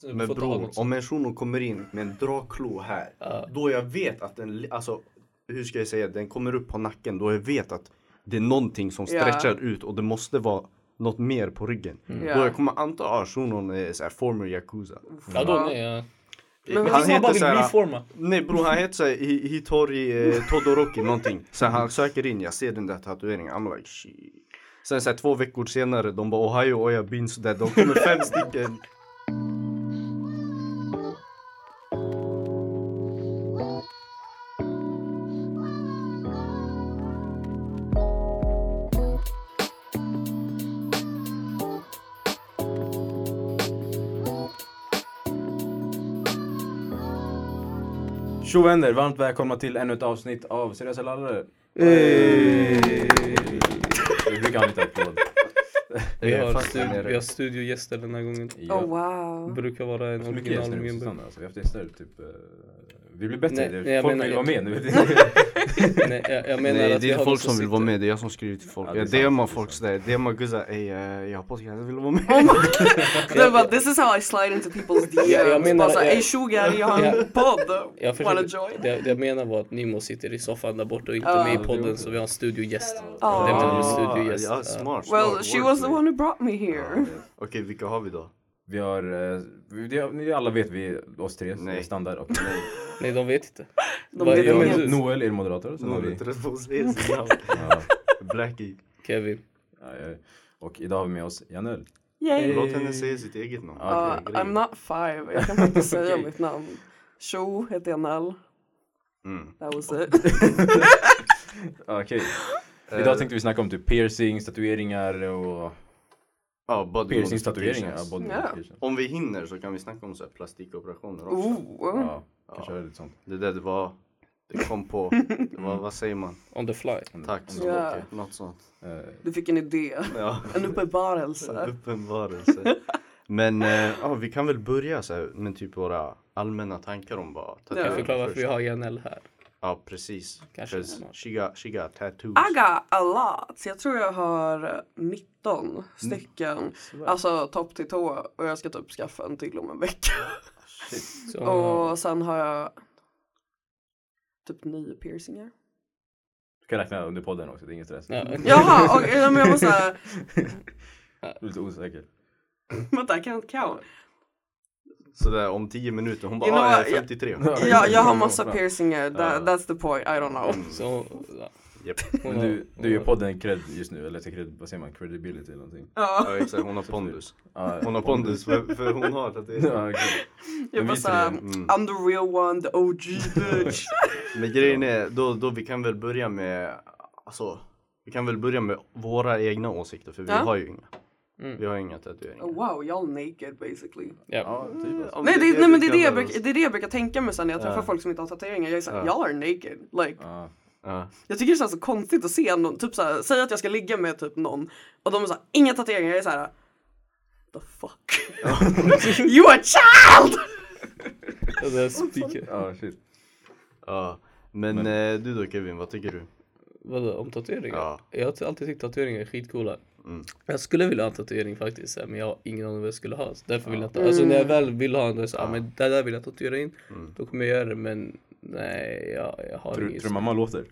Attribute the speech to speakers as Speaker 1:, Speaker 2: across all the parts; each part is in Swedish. Speaker 1: Så vi
Speaker 2: Men
Speaker 1: får ta
Speaker 2: bror,
Speaker 1: något sånt.
Speaker 2: om en shuno kommer in med en draklo här,
Speaker 1: Ja.
Speaker 2: då jag vet att den, li- alltså hur ska jag säga, den kommer upp på nacken, då jag vet att det är någonting som
Speaker 3: Ja.
Speaker 2: stretchar ut och det måste vara något mer på ryggen.
Speaker 3: Ja.
Speaker 2: Då jag kommer anta att shunon är så här former yakuza.
Speaker 1: Ja
Speaker 3: Mm.
Speaker 1: då nej. Ja.
Speaker 3: Men
Speaker 1: Men
Speaker 2: han
Speaker 1: han bara
Speaker 2: heter
Speaker 1: vill
Speaker 2: så här,
Speaker 1: reforma.
Speaker 2: nej bror han heter såhär Hitori eh, Todoroki någonting. Så han söker in, jag ser den där tatueringen, I'm like shit. Sen såhär två veckor senare, de bara Ohio oja beans där, de kommer fem stycken.
Speaker 4: Tjo vänner, varmt välkomna till ännu ett avsnitt av Seriösa Lallare. Vi brukar ha en liten applåd.
Speaker 1: Vi
Speaker 2: är
Speaker 1: har,
Speaker 2: fast där
Speaker 1: stud-
Speaker 2: nere.
Speaker 1: vi har studiogäster den här gången.
Speaker 3: Oh
Speaker 4: Ja.
Speaker 3: wow.
Speaker 1: Brukar vara en
Speaker 4: Så mycket gäster nu på
Speaker 1: original.
Speaker 4: sistone. Alltså, vi har haft gäster typ... eh, Vi blir bättre.
Speaker 1: Nej,
Speaker 4: det,
Speaker 1: nej, jag
Speaker 4: folk
Speaker 1: menar-
Speaker 4: vill vara med nu.
Speaker 1: Nej, jag, jag menar
Speaker 2: Nej,
Speaker 1: att
Speaker 2: det
Speaker 1: vi
Speaker 2: är
Speaker 1: har
Speaker 2: folk
Speaker 1: vissa
Speaker 2: som vill vara
Speaker 1: sikten.
Speaker 2: med, det är jag som skriver till folk.
Speaker 4: Ja, det är
Speaker 2: jag
Speaker 4: sant,
Speaker 2: DMar
Speaker 4: det är
Speaker 2: folk
Speaker 4: sant.
Speaker 2: sådär, DMar guzzar ey eh, jag hoppas jag vill vara med.
Speaker 3: Oh my god. Bara, This is how I slide into people's DMs.
Speaker 1: jag menar-
Speaker 3: Bara såhär,
Speaker 1: jag-
Speaker 3: ey shugari, jag har
Speaker 1: Ja.
Speaker 3: en podd.
Speaker 1: Jag
Speaker 3: Wanna
Speaker 1: försöker,
Speaker 3: join?
Speaker 1: det, jag- det jag menar var att Nimo sitter i soffan där borta och inte
Speaker 3: Ja.
Speaker 1: med i podden så vi har en studiogäst.
Speaker 3: Ja.
Speaker 1: Det menar
Speaker 3: Ah,
Speaker 1: vi studiogäst.
Speaker 2: ja,
Speaker 1: Ja.
Speaker 2: smart, smart.
Speaker 3: Well, she was the
Speaker 2: wordplay.
Speaker 3: one who brought me
Speaker 2: Ja,
Speaker 3: here.
Speaker 2: jag vet. Okej, vilka har vi då?
Speaker 4: vi har... eh, vi- det- Ni alla vet vi, är oss tre,
Speaker 2: Nej.
Speaker 4: nej. standard. Och,
Speaker 1: Nej de vet inte.
Speaker 3: De
Speaker 1: Vad gör
Speaker 3: vet
Speaker 4: jag,
Speaker 1: men
Speaker 3: inget.
Speaker 1: du?
Speaker 4: Noel är moderator. Sen har
Speaker 2: Noll,
Speaker 4: vi...
Speaker 2: trött på att säga sitt namn.
Speaker 4: Ja,
Speaker 2: Blackie.
Speaker 1: Kevin.
Speaker 4: ja, ja. Och idag har vi med oss Janel.
Speaker 3: Yay.
Speaker 2: Låt henne säga sitt eget namn.
Speaker 4: Ja.
Speaker 3: Uh,
Speaker 4: okej, grejen.
Speaker 3: I'm not five. Jag kan faktiskt säga
Speaker 1: Okej.
Speaker 3: mitt namn. Sho heter jag Nall.
Speaker 2: Mm.
Speaker 3: That was it.
Speaker 4: Ja, Okej. Idag tänkte vi snacka om typ piercings, tatueringar och...
Speaker 2: Ja, body
Speaker 4: Piercings, tatueringar. Ja,
Speaker 2: modifications.
Speaker 4: body
Speaker 3: Ja.
Speaker 4: modifications.
Speaker 2: Om vi hinner så kan vi snacka om så här plastikoperationer också.
Speaker 3: Ooh.
Speaker 4: Ja, kanske lite sånt.
Speaker 2: Det där det var, det kom på, det var, vad säger man?
Speaker 1: On the fly.
Speaker 4: Mm.
Speaker 2: Tack så
Speaker 3: Ja.
Speaker 2: mycket. Något sånt.
Speaker 4: Eh,
Speaker 3: Du fick en idé.
Speaker 2: Ja.
Speaker 3: En
Speaker 1: Mm.
Speaker 3: uppenbarelse.
Speaker 2: Uppenbarelse. Men eh, ja, vi kan väl börja så här, med typ våra allmänna tankar om vad
Speaker 3: Ja.
Speaker 1: Jag
Speaker 2: tatueringar
Speaker 1: förklarar varför
Speaker 2: först.
Speaker 1: vi har Janel här.
Speaker 2: Ja precis.
Speaker 1: Kanske
Speaker 2: Cause
Speaker 1: smart.
Speaker 2: she got, she got tattoos.
Speaker 3: I got a lot. Jag tror jag har
Speaker 1: Mm.
Speaker 3: 19 stycken. Alltså topp till tå. Och jag ska typ skaffa en till om en vecka.
Speaker 1: Så,
Speaker 3: Och sen har jag typ nio piercingar.
Speaker 4: Du kan räkna under podden också, det är ingen stress.
Speaker 1: Ja.
Speaker 3: Jaha, och, ja, men jag var såhär,
Speaker 4: Du är lite osäker.
Speaker 3: vänta I can't count.
Speaker 2: Så där om 10 minuter, hon bara
Speaker 3: You know
Speaker 2: ah, jag
Speaker 3: what?
Speaker 2: är 53.
Speaker 3: Ja, jag har massa piercingar, That, that's the point, I don't know.
Speaker 1: så, ja.
Speaker 2: Japp.
Speaker 1: Hon
Speaker 4: Men
Speaker 1: har-
Speaker 4: du,
Speaker 1: hon
Speaker 4: du ger
Speaker 1: har-
Speaker 4: podden cred just nu, eller cred, vad säger man? Credibility eller någonting?
Speaker 3: Ja,
Speaker 2: Ja exakt, hon har pondus.
Speaker 4: Ja,
Speaker 2: Hon har pondus för, för hon har tatueringar.
Speaker 4: Ja, okej.
Speaker 3: jag
Speaker 4: vi
Speaker 3: bara
Speaker 4: tre,
Speaker 3: såhär,
Speaker 2: mm.
Speaker 3: I'm the real one, the OG bitch.
Speaker 2: Men grejen är, då, då vi kan väl börja med, alltså vi kan väl börja med våra egna åsikter för vi
Speaker 3: Ja.
Speaker 2: har ju inga.
Speaker 1: Mm.
Speaker 2: Vi har inga tatueringar.
Speaker 3: Oh, wow, y'all naked basically.
Speaker 1: Ja.
Speaker 4: ja, typ alltså.
Speaker 2: Om
Speaker 3: Nej, det, nej
Speaker 2: vi
Speaker 3: men det är det, jag
Speaker 2: kallar
Speaker 3: brukar,
Speaker 2: oss.
Speaker 3: det är det jag brukar tänka mig sen när jag träffar
Speaker 2: Ja.
Speaker 3: folk som inte har tatueringar. Jag är såhär,
Speaker 2: Ja.
Speaker 3: y'all are naked. Like,
Speaker 4: Ja.
Speaker 2: Ja.
Speaker 3: jag tycker det känns så konstigt att se någon, typ såhär, säg att jag ska ligga med typ någon och de är såhär, inga tatueringar. Jag är såhär, the fuck. you a child!
Speaker 1: Det där spiker.
Speaker 4: Ja, shit.
Speaker 2: Ja. Men, eh, du då Kevin, vad tycker du?
Speaker 1: Vadå, om tatueringar?
Speaker 2: Ja.
Speaker 1: Jag har alltid tyckt tatueringar är skitcoola.
Speaker 2: Mm.
Speaker 1: Jag skulle vilja ha en tatuering faktiskt, men jag har ingen aning om vad jag skulle ha. Så därför vill jag inte. Alltså när jag väl vill ha en, då är jag så, ah, men det där vill jag tatuera in.
Speaker 2: Mm.
Speaker 1: Då kommer jag göra det, men nej, jag, jag har
Speaker 4: Tror,
Speaker 1: ingen...
Speaker 4: tror mamma låter?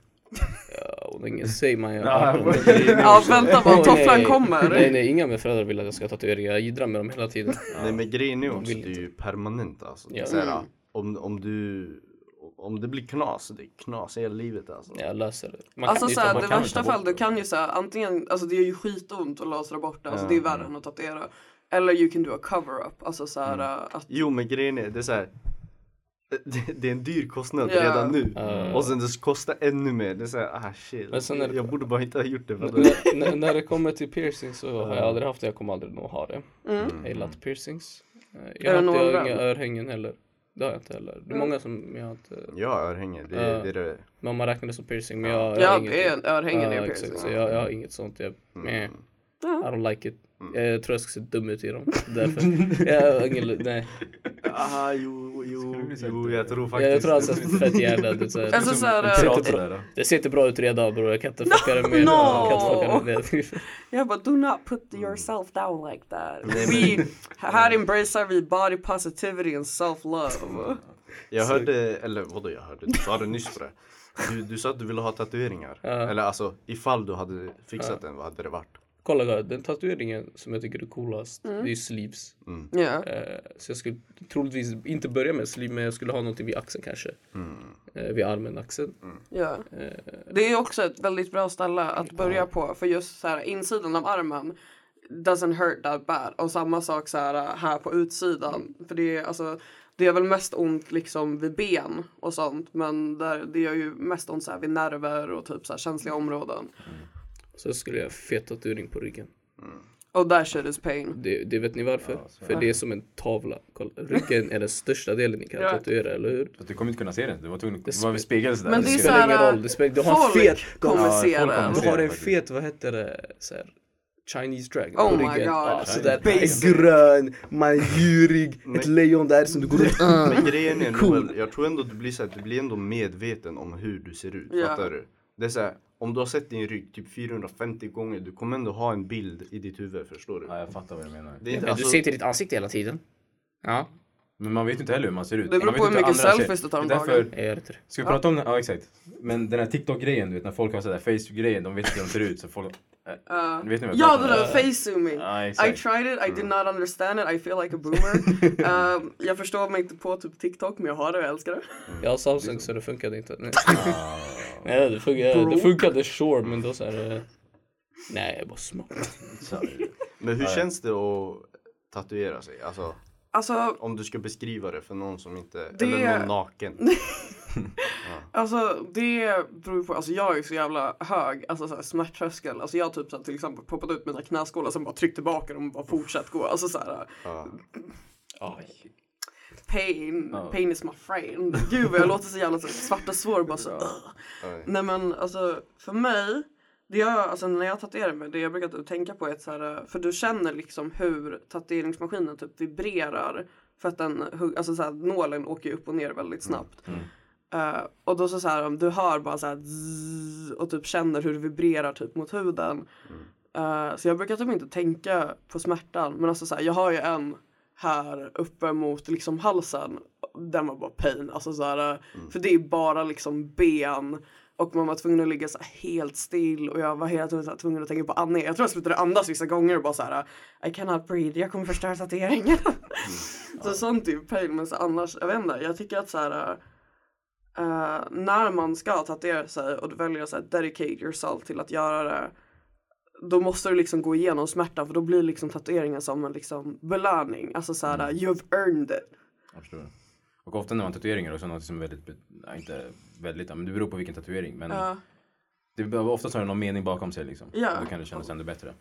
Speaker 1: Ja, hon har ingen säg man jag
Speaker 4: Ja,
Speaker 1: har-
Speaker 3: Ja vänta bara,
Speaker 1: Nej,
Speaker 3: tofflan
Speaker 1: nej.
Speaker 3: kommer.
Speaker 1: Nej, nej, inga av mina föräldrar vill att jag ska ha tatueringar. Jag jiddrar med dem hela tiden.
Speaker 2: Nej men grejen är också,
Speaker 1: vill
Speaker 2: det är ju permanent alltså. Det är
Speaker 1: Ja. Mm.
Speaker 2: såhär, om, om du, om det blir knas, det är knas i hela livet alltså.
Speaker 1: Jag löser det. Man
Speaker 3: Alltså
Speaker 1: kan
Speaker 3: såhär,
Speaker 1: jiddra,
Speaker 3: det
Speaker 1: man kan-
Speaker 3: värsta
Speaker 4: ta bort
Speaker 3: fall, du
Speaker 4: det.
Speaker 3: kan ju såhär antingen, alltså det gör ju skitont att lasra bort det, alltså
Speaker 2: Ja,
Speaker 3: det är värre än att tatuera. Eller you can do a cover-up, alltså såhär äh, att
Speaker 2: Jo men grejen är, det är såhär, det, det är en dyr kostnad
Speaker 3: Ja.
Speaker 2: redan nu.
Speaker 1: Ja.
Speaker 2: Och sen det kostar ännu mer. Det är såhär, ah shit.
Speaker 1: Men sen är det-
Speaker 2: Jag borde bara inte ha gjort det. För då-
Speaker 1: När- när, när det kommer till piercing så har jag aldrig haft det, jag kommer aldrig nog ha det. Jag gillar inte piercings. Eh, Jag
Speaker 3: Mm. det Mm.
Speaker 1: har, inte,
Speaker 3: några
Speaker 1: jag har inga
Speaker 3: bra?
Speaker 1: örhängen heller. Det har jag inte heller. Det är många som jag har inte,
Speaker 2: Ja örhänge, det,
Speaker 1: Ja.
Speaker 2: det är det.
Speaker 1: men man räknar det som piercing men jag, jag
Speaker 3: ja,
Speaker 1: inget.
Speaker 3: det är en örhängen
Speaker 1: Ja,
Speaker 3: är
Speaker 1: exakt. Så
Speaker 3: piercing.
Speaker 1: jag, jag har inget sånt. Jag, meh, I don't like it. Jag tror jag ska se dum ut i dem. Därför. Jag, har ingen, lu- nej.
Speaker 2: Aha, Ah, jo, jo, jo, jag tror faktiskt
Speaker 1: jag tror han ser fett jävla ut. så här.
Speaker 3: Alltså såhär,
Speaker 1: Sitter
Speaker 4: Pirat
Speaker 1: bra-
Speaker 4: där.
Speaker 1: Det ser inte bra ut redan bror. Jag kan inte fucka det mer.
Speaker 3: No!
Speaker 1: Jag kan inte fucka det mer.
Speaker 3: jag bara do not put yourself down like that. We, här embracear vi body positivity and self love.
Speaker 2: Jag hörde, eller vadå jag hörde, du sa det nyss bre. Du, du sa att du ville ha tatueringar. Eller alltså ifall du hade fixat den, vad hade det varit?
Speaker 1: Kolla här, den tatueringen som jag tycker är coolast,
Speaker 3: Mm.
Speaker 1: det är ju sleeves.
Speaker 3: Ja.
Speaker 1: Eh, Så jag skulle troligtvis inte börja med sleeve, men jag skulle ha någonting vid axeln kanske. Eh, Vid armen, axeln.
Speaker 3: Ja.
Speaker 1: Eh,
Speaker 3: Det är också ett väldigt bra ställe att börja på för just så här insidan av armen doesn't hurt that bad och samma sak så här, eh, här på utsidan för det är alltså det gör väl mest ont liksom vid ben och sånt men där, det gör ju mest ont så här vid nerver och typ så här känsliga
Speaker 1: Mm.
Speaker 3: områden.
Speaker 1: Så skulle jag ha fet tatuering på ryggen.
Speaker 3: Och där shit is pain.
Speaker 1: Det, det vet ni varför? För det är som en tavla. Kolla, ryggen är den största delen ni kan
Speaker 3: Ja.
Speaker 1: tatuera, eller hur?
Speaker 4: Så Du kommer inte kunna se den. Du var tvungen att vara vid spegeln sådär.
Speaker 3: Men
Speaker 4: Du
Speaker 3: det är
Speaker 1: Det
Speaker 4: ser
Speaker 3: så
Speaker 1: spelar
Speaker 3: här,
Speaker 1: ingen
Speaker 3: äh,
Speaker 1: roll. Det spelar, du har en
Speaker 3: folk
Speaker 1: fet...
Speaker 3: kommer
Speaker 4: Ja,
Speaker 3: se
Speaker 4: folk
Speaker 3: den.
Speaker 4: kommer
Speaker 1: Du har en
Speaker 4: faktiskt.
Speaker 1: fet, vad heter det? Så här, Chinese dragon
Speaker 3: Oh
Speaker 1: på
Speaker 3: my
Speaker 1: ryggen.
Speaker 3: God.
Speaker 1: Ja,
Speaker 3: Chinese
Speaker 1: sådär. En grön, manjurig, ett lejon där som du går runt.
Speaker 2: Men grejen är Noel, jag tror ändå du blir, så här, du blir ändå medveten om hur du ser ut.
Speaker 3: Ja.
Speaker 2: Fattar du? Det är så här, om du har sett din rygg typ 450 gånger, du kommer ändå ha en bild i ditt huvud. Förstår du?
Speaker 4: Ja, jag fattar vad du menar.
Speaker 2: Det är inte,
Speaker 1: Men du
Speaker 2: alltså,
Speaker 1: ser inte ditt ansikte hela tiden. Ja,
Speaker 4: Men man vet ju inte heller hur man ser ut.
Speaker 3: Det beror
Speaker 4: Man vet
Speaker 3: på
Speaker 4: inte
Speaker 3: hur mycket
Speaker 4: andra
Speaker 3: selfies
Speaker 4: ser.
Speaker 3: du tar om
Speaker 4: Det är därför-
Speaker 1: jag gör inte det.
Speaker 4: Ska vi prata om den? Ja, exakt. Men den här TikTok-grejen, du vet när folk har sådär face-grejen, de vet inte hur de ser ut. Så folk... Äh,
Speaker 3: Ja.
Speaker 4: vet ni vad
Speaker 3: ja,
Speaker 4: jag pratar
Speaker 3: det
Speaker 4: om?
Speaker 3: där uh, face zooming.
Speaker 4: Ja,
Speaker 3: I
Speaker 4: exakt.
Speaker 3: tried it, I did not understand it, I feel like a boomer. um, jag förstår mig inte på typ TikTok men jag har det och jag älskar det.
Speaker 1: Jag har Samsung så det funkade inte. Nej, nej det, funkade, det
Speaker 3: Broke.
Speaker 1: funkade sure men då såhär... Nej, jag är bara smart.
Speaker 4: Så-
Speaker 2: men hur känns det att tatuera sig? Alltså,
Speaker 3: Alltså,
Speaker 2: om du ska beskriva det för någon som inte,
Speaker 3: Det-
Speaker 2: eller någon naken.
Speaker 3: alltså det beror ju på, alltså jag är ju så jävla hög, alltså såhär smärttröskel. Alltså jag har typ såhär till exempel poppat ut mina knäskålar som bara tryckt tillbaka dem och bara fortsatt gå. Alltså såhär
Speaker 2: Ja.
Speaker 4: Aj.
Speaker 3: pain,
Speaker 4: Ja.
Speaker 3: pain is my friend. Gud vad jag låter så jävla så, svarta svår bara så. "Ugh."
Speaker 2: Oj.
Speaker 3: Nej men alltså för mig, det jag, alltså när jag tatuerar mig, det jag brukar typ tänka på är att så här, för du känner liksom hur tatueringsmaskinen typ vibrerar för att den, hugg- alltså så här, nålen åker ju upp och ner väldigt snabbt. Eh, och då så, så här, om du hör bara så här zzz, och typ känner hur det vibrerar typ mot huden. Eh, så jag brukar typ inte tänka på smärtan men alltså så här, jag har ju en här uppe mot liksom halsen. Den var bara pain. Alltså så här, eh, För det är bara liksom ben. Och man var tvungen att ligga så här helt still och jag var hela tiden så här tvungen att tänka på andning. Jag tror jag slutade andas vissa gånger och bara så här I cannot breathe, jag kommer förstöra tatueringen. så sånt är ju pain men så annars, jag vet inte. Jag tycker att så här eh, när man ska tatuera sig och du väljer att så här dedicate yourself till att göra det då måste du liksom gå igenom smärtan för då blir liksom tatueringen som en liksom belöning. Alltså såhär, you've earned it.
Speaker 4: Jag förstår. Och ofta när man har tatueringar också något som är väldigt, be- nej, inte väldigt, men det beror på vilken tatuering. Men
Speaker 3: Ja.
Speaker 4: det behöver oftast har det någon mening bakom sig liksom.
Speaker 3: Ja.
Speaker 4: Och Då kan det kännas ännu bättre.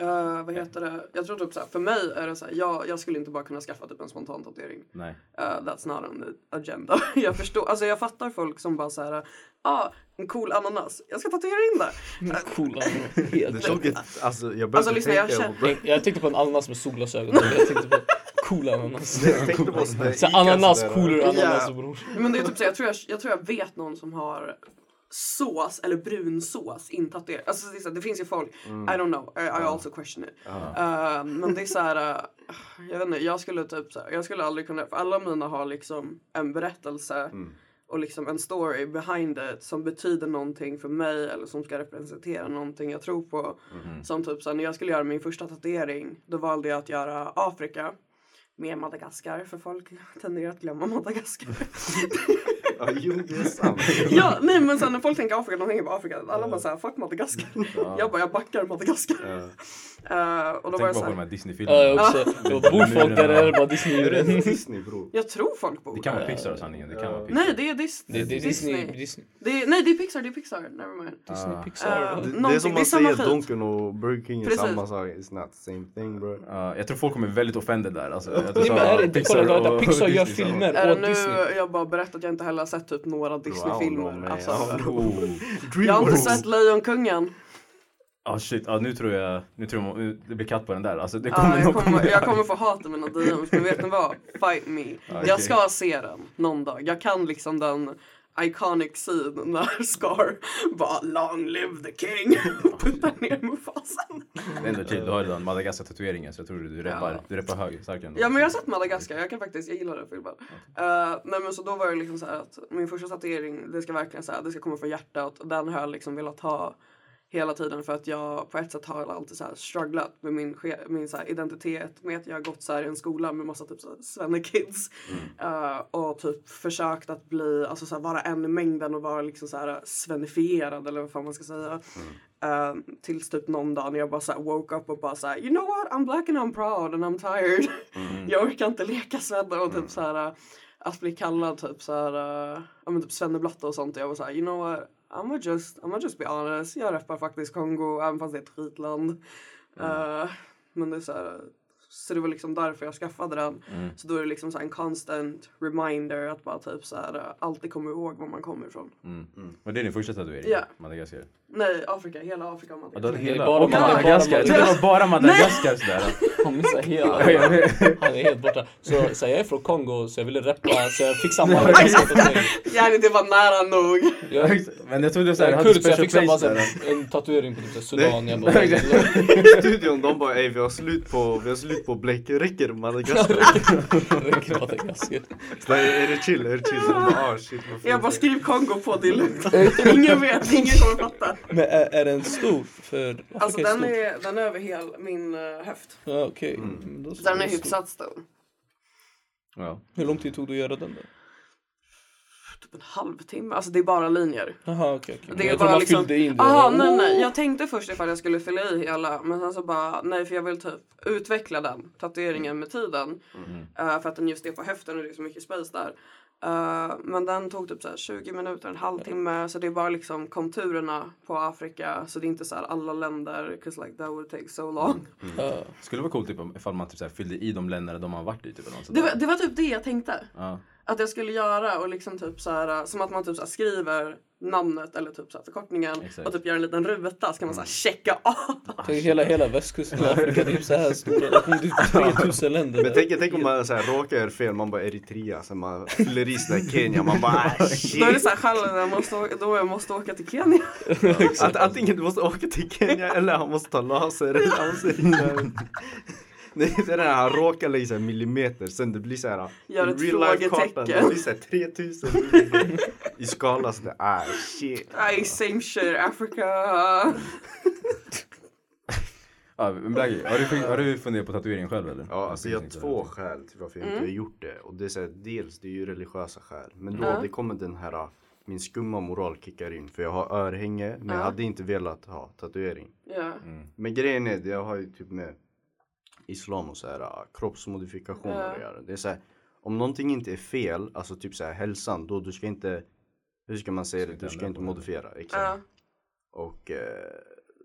Speaker 3: Eh, vad heter det? Jag tror typ såhär, för mig är det såhär, jag, jag skulle inte bara kunna skaffa typ en spontan tatuering.
Speaker 4: Nej.
Speaker 3: Eh, that's not on the agenda. jag förstår, alltså jag fattar folk som bara såhär, ah, en cool ananas, jag ska tatuera in det.
Speaker 1: Coola.
Speaker 2: Det
Speaker 1: Helt
Speaker 2: tog ett, alltså jag började
Speaker 3: Alltså, lyssna, jag
Speaker 2: tänka, jag,
Speaker 1: Jag, jag tänkte på en ananas med solglasögon. Jag tänkte på coola ananas.
Speaker 2: jag tänkte på sådär
Speaker 1: Så ananas,
Speaker 2: Ica sådär.
Speaker 1: coolare ananas
Speaker 3: Ja.
Speaker 1: bror.
Speaker 3: Men det är typ så, jag, tror jag, jag tror jag vet någon som har sås eller brunsås intatuerat. Alltså det, är så här, det finns ju folk, I don't know, I, I also question it. Eh, men det är så här, eh, jag vet inte, jag skulle typ så här, jag skulle aldrig kunna, för alla mina har liksom en berättelse och liksom en story behind it som betyder någonting för mig eller som ska representera någonting jag tror på. Som typ så här, när jag skulle göra min första tatuering då valde jag att göra Afrika. Med Madagaskar, för folk tenderar att glömma Madagaskar.
Speaker 2: Ja, jo det är sant.
Speaker 3: Ja, nej men sen när folk tänker Afrika, de tänker på Afrika. Alla bara såhär, fuck Madagaskar. Jag bara, jag backar Madagaskar. Eh, och då var
Speaker 4: Tänk
Speaker 3: jag
Speaker 4: bara på de
Speaker 3: såhär,
Speaker 4: här Disney-filmerna.
Speaker 1: Ja, jag också. Det var bor folk där eller bara Disney?
Speaker 2: Är det inte Disney bror?
Speaker 3: jag tror folk bor
Speaker 4: Det kan
Speaker 3: där.
Speaker 4: vara Pixar sanningen. Det kan vara Pixar.
Speaker 3: Nej, det är, dis-
Speaker 1: Det, det är Disney.
Speaker 3: Disney.
Speaker 1: Disney.
Speaker 3: Det är, nej, det är Pixar, det är Pixar. Nevermind.
Speaker 1: Disney
Speaker 4: Ah.
Speaker 1: Pixar.
Speaker 3: Eh,
Speaker 2: Det, det är
Speaker 3: Någonting,
Speaker 2: som
Speaker 3: det är
Speaker 2: man
Speaker 3: samma
Speaker 2: säger
Speaker 3: skit.
Speaker 2: Donken och Burger King är
Speaker 3: Precis.
Speaker 2: samma sak. It's not the same thing bro.
Speaker 4: Ja, ah, jag tror folk kommer väldigt offended där. Alltså, jag tror
Speaker 1: Nej
Speaker 4: så-
Speaker 1: men är det inte? Kolla,
Speaker 4: och-
Speaker 1: vänta,
Speaker 4: och
Speaker 1: Pixar gör
Speaker 4: Disney, så-
Speaker 1: filmer
Speaker 3: Äh,
Speaker 1: åt
Speaker 3: nu
Speaker 1: Disney.
Speaker 3: jag bara berättat att jag inte heller har sett typ några Disney-filmer.
Speaker 2: Wow, no, man.
Speaker 3: alltså,
Speaker 4: Oh.
Speaker 3: jag har inte sett Lejonkungen.
Speaker 4: Ah shit, ah, nu tror jag nu tror jag, nu, det blir katt på den där. Alltså, det kommer
Speaker 3: Ja, Ah, jag,
Speaker 4: nog
Speaker 3: kommer, jag kommer få hat i mina DMs, men vet ni vad? Fight me.
Speaker 4: Ah, okej.
Speaker 3: Jag ska se den någon dag. Jag kan liksom den iconic scenen när Scar bara long live the king och puttar ner Mufasan.
Speaker 4: Det är ändå chill, du har redan Madagaskar-tatueringen så jag tror du, du reppar,
Speaker 3: Ja.
Speaker 4: du reppar hög, stark ändå.
Speaker 3: Ja men jag har sett Madagaskar, jag kan faktiskt, jag gillar den filmen. Eh, nej men så då var det liksom så här att min första tatuering, det ska verkligen säga, det ska komma från hjärtat och den har jag liksom velat ha hela tiden för att jag på ett sätt har alltid så här strugglat med min, ske- min så här identitet med att jag har gått så här i en skola med massa typ så här svennekids Eh, och typ försökt att bli, alltså så här, vara en i mängden och vara liksom så här svennifierad eller vad fan man ska säga. Mm. tills typ någon dag när jag bara så här woke up och bara så här, you know what I'm black and I'm proud and I'm tired. jag orkar inte leka svenne och typ så här eh, att bli kallad typ så här, eh, ja men typ svenneblatte och sånt. Jag var så här, you know what I'm gonna just, I'm gonna just be honest. Jag reppar faktiskt Kongo även fast det är ett skitland. Eh, men det är så här, eh, så det var liksom därför jag skaffade den. Så då är det liksom så här en constant reminder att bara typ så här, eh, alltid komma ihåg var man kommer ifrån.
Speaker 4: Mm. Men det är din första tatuering?
Speaker 3: Ja.
Speaker 4: Madagaskar?
Speaker 3: Nej, Afrika. Hela Afrika. om man
Speaker 4: Ja,
Speaker 3: tänker
Speaker 4: du hade
Speaker 3: så.
Speaker 4: hela...
Speaker 1: bara
Speaker 4: och Madagaskar? Jag
Speaker 1: Madagaskar.
Speaker 4: trodde det var bara Madagaskar sådär.
Speaker 1: Han missar hela. Han är helt borta. Så, så jag är från Kongo så jag ville reppa så jag fick samma Madagaskar-tatuering.
Speaker 3: Gärna det var nära nog.
Speaker 1: Jag
Speaker 4: Men jag trodde du
Speaker 1: jag
Speaker 4: såhär,
Speaker 1: är
Speaker 4: hade
Speaker 1: kurd så jag
Speaker 4: special
Speaker 1: fick samma
Speaker 4: place
Speaker 1: så
Speaker 4: där.
Speaker 1: här, en tatuering på typ så här Sudan. Jag bara,
Speaker 2: Studion de bara ey vi har slut på, vi har slut på bläck, räcker det Madagaskar?
Speaker 1: Räcker Madagaskar.
Speaker 2: Så där, är det chill, är det chill? De bara ah shit vad
Speaker 3: Jag
Speaker 2: fint.
Speaker 3: bara skriv Kongo på det är lugnt. Ingen vet, ingen kommer fatta.
Speaker 1: Men är, är den stor? För
Speaker 3: Alltså
Speaker 1: Afrika
Speaker 3: den
Speaker 1: stor.
Speaker 3: är, den är över hela min eh, höft.
Speaker 1: Ja, okej. Men då så.
Speaker 3: Den är hyfsat stor.
Speaker 4: Ja.
Speaker 1: Hur lång tid tog det att göra den då?
Speaker 3: Typ en halvtimme. Alltså det är bara linjer.
Speaker 1: Jaha, okej. okej.
Speaker 3: Det är
Speaker 1: jag
Speaker 3: bara
Speaker 1: man
Speaker 3: liksom...
Speaker 1: fyllde in det.
Speaker 3: ah,
Speaker 1: där.
Speaker 3: nej, nej. Jag tänkte först ifall jag skulle fylla i hela men sen så bara nej för jag vill typ utveckla den tatueringen med tiden. Eh, för att den just är på höften och det är så mycket space där. Eh, men den tog typ så här 20 minuter, en halvtimme. Så det är bara liksom konturerna på Afrika. Så det är inte så här alla länder. 'Cause like that would take so long.
Speaker 1: Ja.
Speaker 4: Skulle vara coolt typ, om- ifall man typ, såhär, fyllde i de länder de har varit i typ eller något sånt
Speaker 3: Det
Speaker 4: där.
Speaker 3: var, det var typ det jag tänkte.
Speaker 4: Ja.
Speaker 3: att jag skulle göra och liksom typ så här, som att man typ så här skriver namnet eller typ så här förkortningen
Speaker 4: Exakt.
Speaker 3: och typ gör en liten ruta så kan man så här checka av.
Speaker 1: Tänk hela, hela västkusten i Afrika, det är så här stora, det kommer typ 3000 länder.
Speaker 2: Men tänk, tänk om man så här, råkar göra fel, man bara Eritrea, sen man fyller i sådär Kenya, man bara ah,
Speaker 3: Då är det
Speaker 2: shit.
Speaker 3: så här själv, jag måste, å- då jag måste åka till Kenya.
Speaker 2: Att, antingen du måste åka till Kenya eller han måste ta laser. eller Han måste hitta- Nej, det är det här, han råkar lägga sig en millimeter, sen det blir så här
Speaker 3: Gör ett
Speaker 2: life-kartan,
Speaker 3: frågetecken.
Speaker 2: det blir så här 3000 i skala sådär, ah shit.
Speaker 3: Nej, same shit Africa.
Speaker 4: Ja, men Blackie, har, du, fun- har du funderat på tatuering själv eller?
Speaker 2: Ja, alltså jag har
Speaker 4: tänkte-
Speaker 2: två skäl till varför jag
Speaker 3: Mm.
Speaker 2: inte har gjort det. Och det är så här, dels det är ju religiösa skäl. Men då
Speaker 3: Ja.
Speaker 2: det kommer den här, ah, min skumma moral kickar in. För jag har örhänge, men
Speaker 3: Ja.
Speaker 2: jag hade inte velat ha tatuering.
Speaker 3: Ja.
Speaker 2: Men grejen är, det jag har ju typ med islam och så här ah, kroppsmodifikationer
Speaker 3: Ja.
Speaker 2: att göra. Det är så här, om någonting inte är fel, alltså typ så här hälsan, då du ska inte, hur ska man säga det, du ska
Speaker 4: ändra
Speaker 2: inte
Speaker 4: på det.
Speaker 2: modifiera. Exakt.
Speaker 3: Ja.
Speaker 2: Och, eh,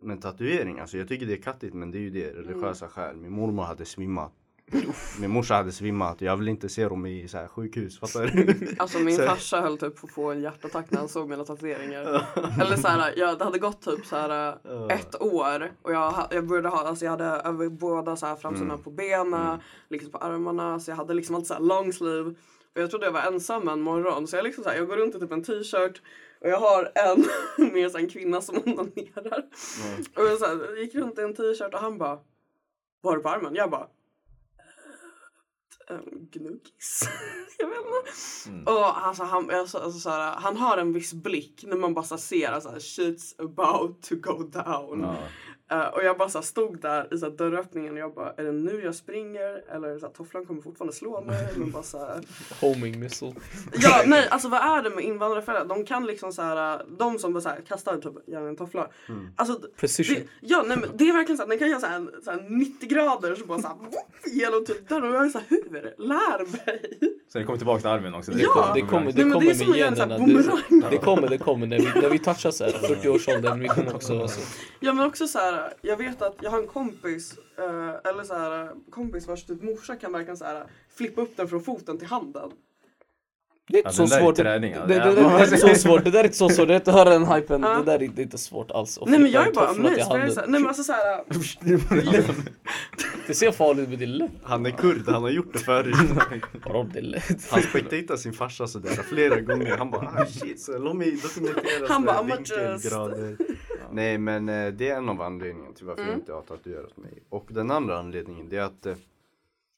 Speaker 2: men tatuering, alltså jag tycker det är kattigt men det är ju det,
Speaker 3: Mm.
Speaker 2: religiösa skäl. Min mormor hade svimmat. Min morsa hade svimmat. Jag vill inte se dem i så här sjukhus, fattar du?
Speaker 3: Alltså min
Speaker 2: Så-
Speaker 3: farsa höll typ på att få en hjärtattack när han såg mina tatueringar. Eller så här, jag, det hade gått typ så här ett år och jag, ha- jag började ha, alltså jag hade över båda så här framsidan på benen, liksom på armarna, så jag hade liksom alltid så här long sleeve. Och jag trodde jag var ensam en morgon så jag liksom så här, jag går runt i typ en t-shirt och jag har en med så här en kvinna som onanerar. Och jag så här, gick runt i en t-shirt och han bara, vad har du på armen? Jag bara, eh, gnuggis. jag vet inte. Och alltså, han, alltså, alltså, så här, han har en viss blick när man bara så här, ser att alltså, shit's about to go down.
Speaker 4: Ja.
Speaker 3: Eh, och jag bara så här, stod där i så här, dörröppningen och jag bara, är det nu jag springer? Eller så här, tofflan kommer fortfarande slå mig. Men bara, så här,
Speaker 1: Homing missile.
Speaker 3: Ja, nej, alltså vad är det med invandrarföräldrar? De kan liksom så här, de som bara så här, kastar typ gärna en toffla.
Speaker 1: Mm.
Speaker 3: Alltså, d-
Speaker 1: Precision.
Speaker 3: Det, ja, nej, men det är verkligen så här, den kan göra så här, en- så här 90 grader så bara så här, whoop, genom typ där. Och jag är så här, hur? Lär mig!
Speaker 4: Så det kommer tillbaka till armen också?
Speaker 3: Ja!
Speaker 1: Det kommer,
Speaker 3: Nej,
Speaker 1: det
Speaker 3: men
Speaker 1: kommer
Speaker 3: det är som
Speaker 1: med
Speaker 3: att göra en sån här
Speaker 1: generna. Det,
Speaker 3: boomerang.
Speaker 1: det kommer, det kommer. När vi, när vi touchar så här 40-årsåldern, vi kommer också vara så.
Speaker 3: Ja men också så här, jag vet att jag har en kompis, eh, eller så här, kompis vars typ morsa kan verkligen så här, flippa upp den från foten till handen.
Speaker 1: Det är inte
Speaker 4: Ja,
Speaker 1: så
Speaker 4: den där är
Speaker 1: svårt. Det, det,
Speaker 4: träning,
Speaker 1: det,
Speaker 4: ja.
Speaker 1: det, är inte så svårt. Det där är inte så svårt. Det är inte höra den hypen.
Speaker 3: Ja.
Speaker 1: Det där är inte, inte svårt alls. Och
Speaker 3: Nej men
Speaker 1: flytta
Speaker 3: jag är
Speaker 1: en toffla
Speaker 3: bara
Speaker 1: till
Speaker 3: amazed. för jag
Speaker 1: handen.
Speaker 3: är så här- Nej men alltså såhär.
Speaker 1: Det ser farligt ut men det är lätt.
Speaker 2: Han är kurd, han har gjort det förut.
Speaker 1: Bara om det är lätt.
Speaker 2: Han spektatade Alltså, sin farsa sådär flera gånger. Han bara ah, shit, så låt mig dokumentera
Speaker 3: Han bara,
Speaker 2: sådär
Speaker 3: "I'm a
Speaker 2: vinkelgrader. Nej men eh, det är en av anledningarna till varför
Speaker 3: Mm.
Speaker 2: jag inte har tatuerat mig. Och den andra anledningen det är att eh,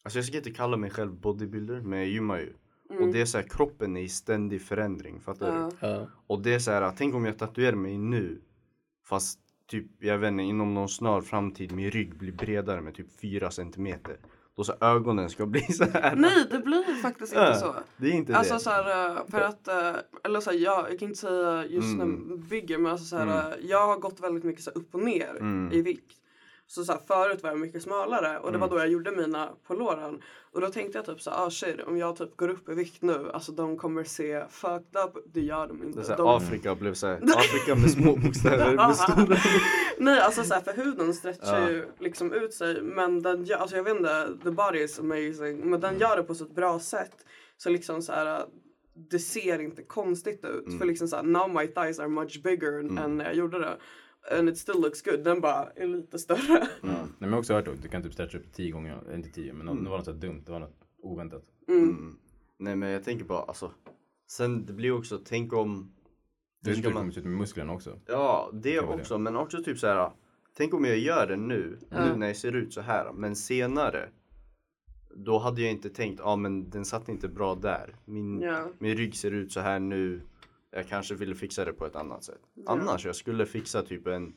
Speaker 2: Alltså jag ska inte kalla mig själv bodybuilder men jag gymmar ju. Och det är såhär kroppen är i ständig förändring fattar
Speaker 1: Typ.
Speaker 2: du?
Speaker 3: Mm. Ja.
Speaker 1: Ja.
Speaker 2: Och det är så här, "Ah, tänk om jag tatuerar mig nu fast typ, jag vet inte, inom någon snar framtid min rygg blir bredare med typ 4 centimeter. Då så ögonen ska bli så här.
Speaker 3: Nej det blir faktiskt inte
Speaker 2: Ja,
Speaker 3: så.
Speaker 2: Det är inte
Speaker 3: Alltså
Speaker 2: det.
Speaker 3: så här, eh, för att, eh, eller så här, jag, jag kan inte säga just
Speaker 2: Mm.
Speaker 3: när jag bygger men alltså så här, eh, jag har gått väldigt mycket så här, upp och ner
Speaker 2: Mm.
Speaker 3: i vikt. Så, så här, förut var jag mycket smalare och det var då jag gjorde mina på låren. Och då tänkte jag typ så här, ah, shit, om jag typ går upp i vikt nu, alltså de kommer se fucked up. Det gör de
Speaker 2: det
Speaker 3: inte.
Speaker 2: är så här,
Speaker 3: de...
Speaker 2: Afrika blev så här, Afrika med små bokstäver med stora.
Speaker 3: Nej alltså så här, för huden stretchar
Speaker 2: Alltså, Ja.
Speaker 3: ju liksom ut sig men den gör, alltså jag vet inte, the body is amazing men den gör det på så ett bra sätt så liksom så här det ser inte konstigt ut för liksom så här now my thighs are much bigger än när jag gjorde det and it still looks good den bara är lite större
Speaker 4: Ja. Mm. Nej, men jag har också hört att du kan typ stretcha upp tio gånger, eller inte tio, men
Speaker 2: Mm.
Speaker 4: nå- det var något så här dumt, det var något oväntat.
Speaker 3: Mm.
Speaker 2: Nej men jag tänker bara alltså. Sen det blir också, tänk om.
Speaker 4: Du vet
Speaker 2: ska
Speaker 4: inte hur det
Speaker 2: man-
Speaker 4: kommer ut med musklerna också.
Speaker 2: Ja det
Speaker 4: vara det.
Speaker 2: också men också typ så här. Tänk om jag gör det nu, nu när jag ser ut så här men senare. Då hade jag inte tänkt, ja ah, men den satt inte bra där. Min,
Speaker 3: Ja.
Speaker 2: min rygg ser ut så här nu. Jag kanske ville fixa det på ett annat sätt. Annars jag skulle fixa typ en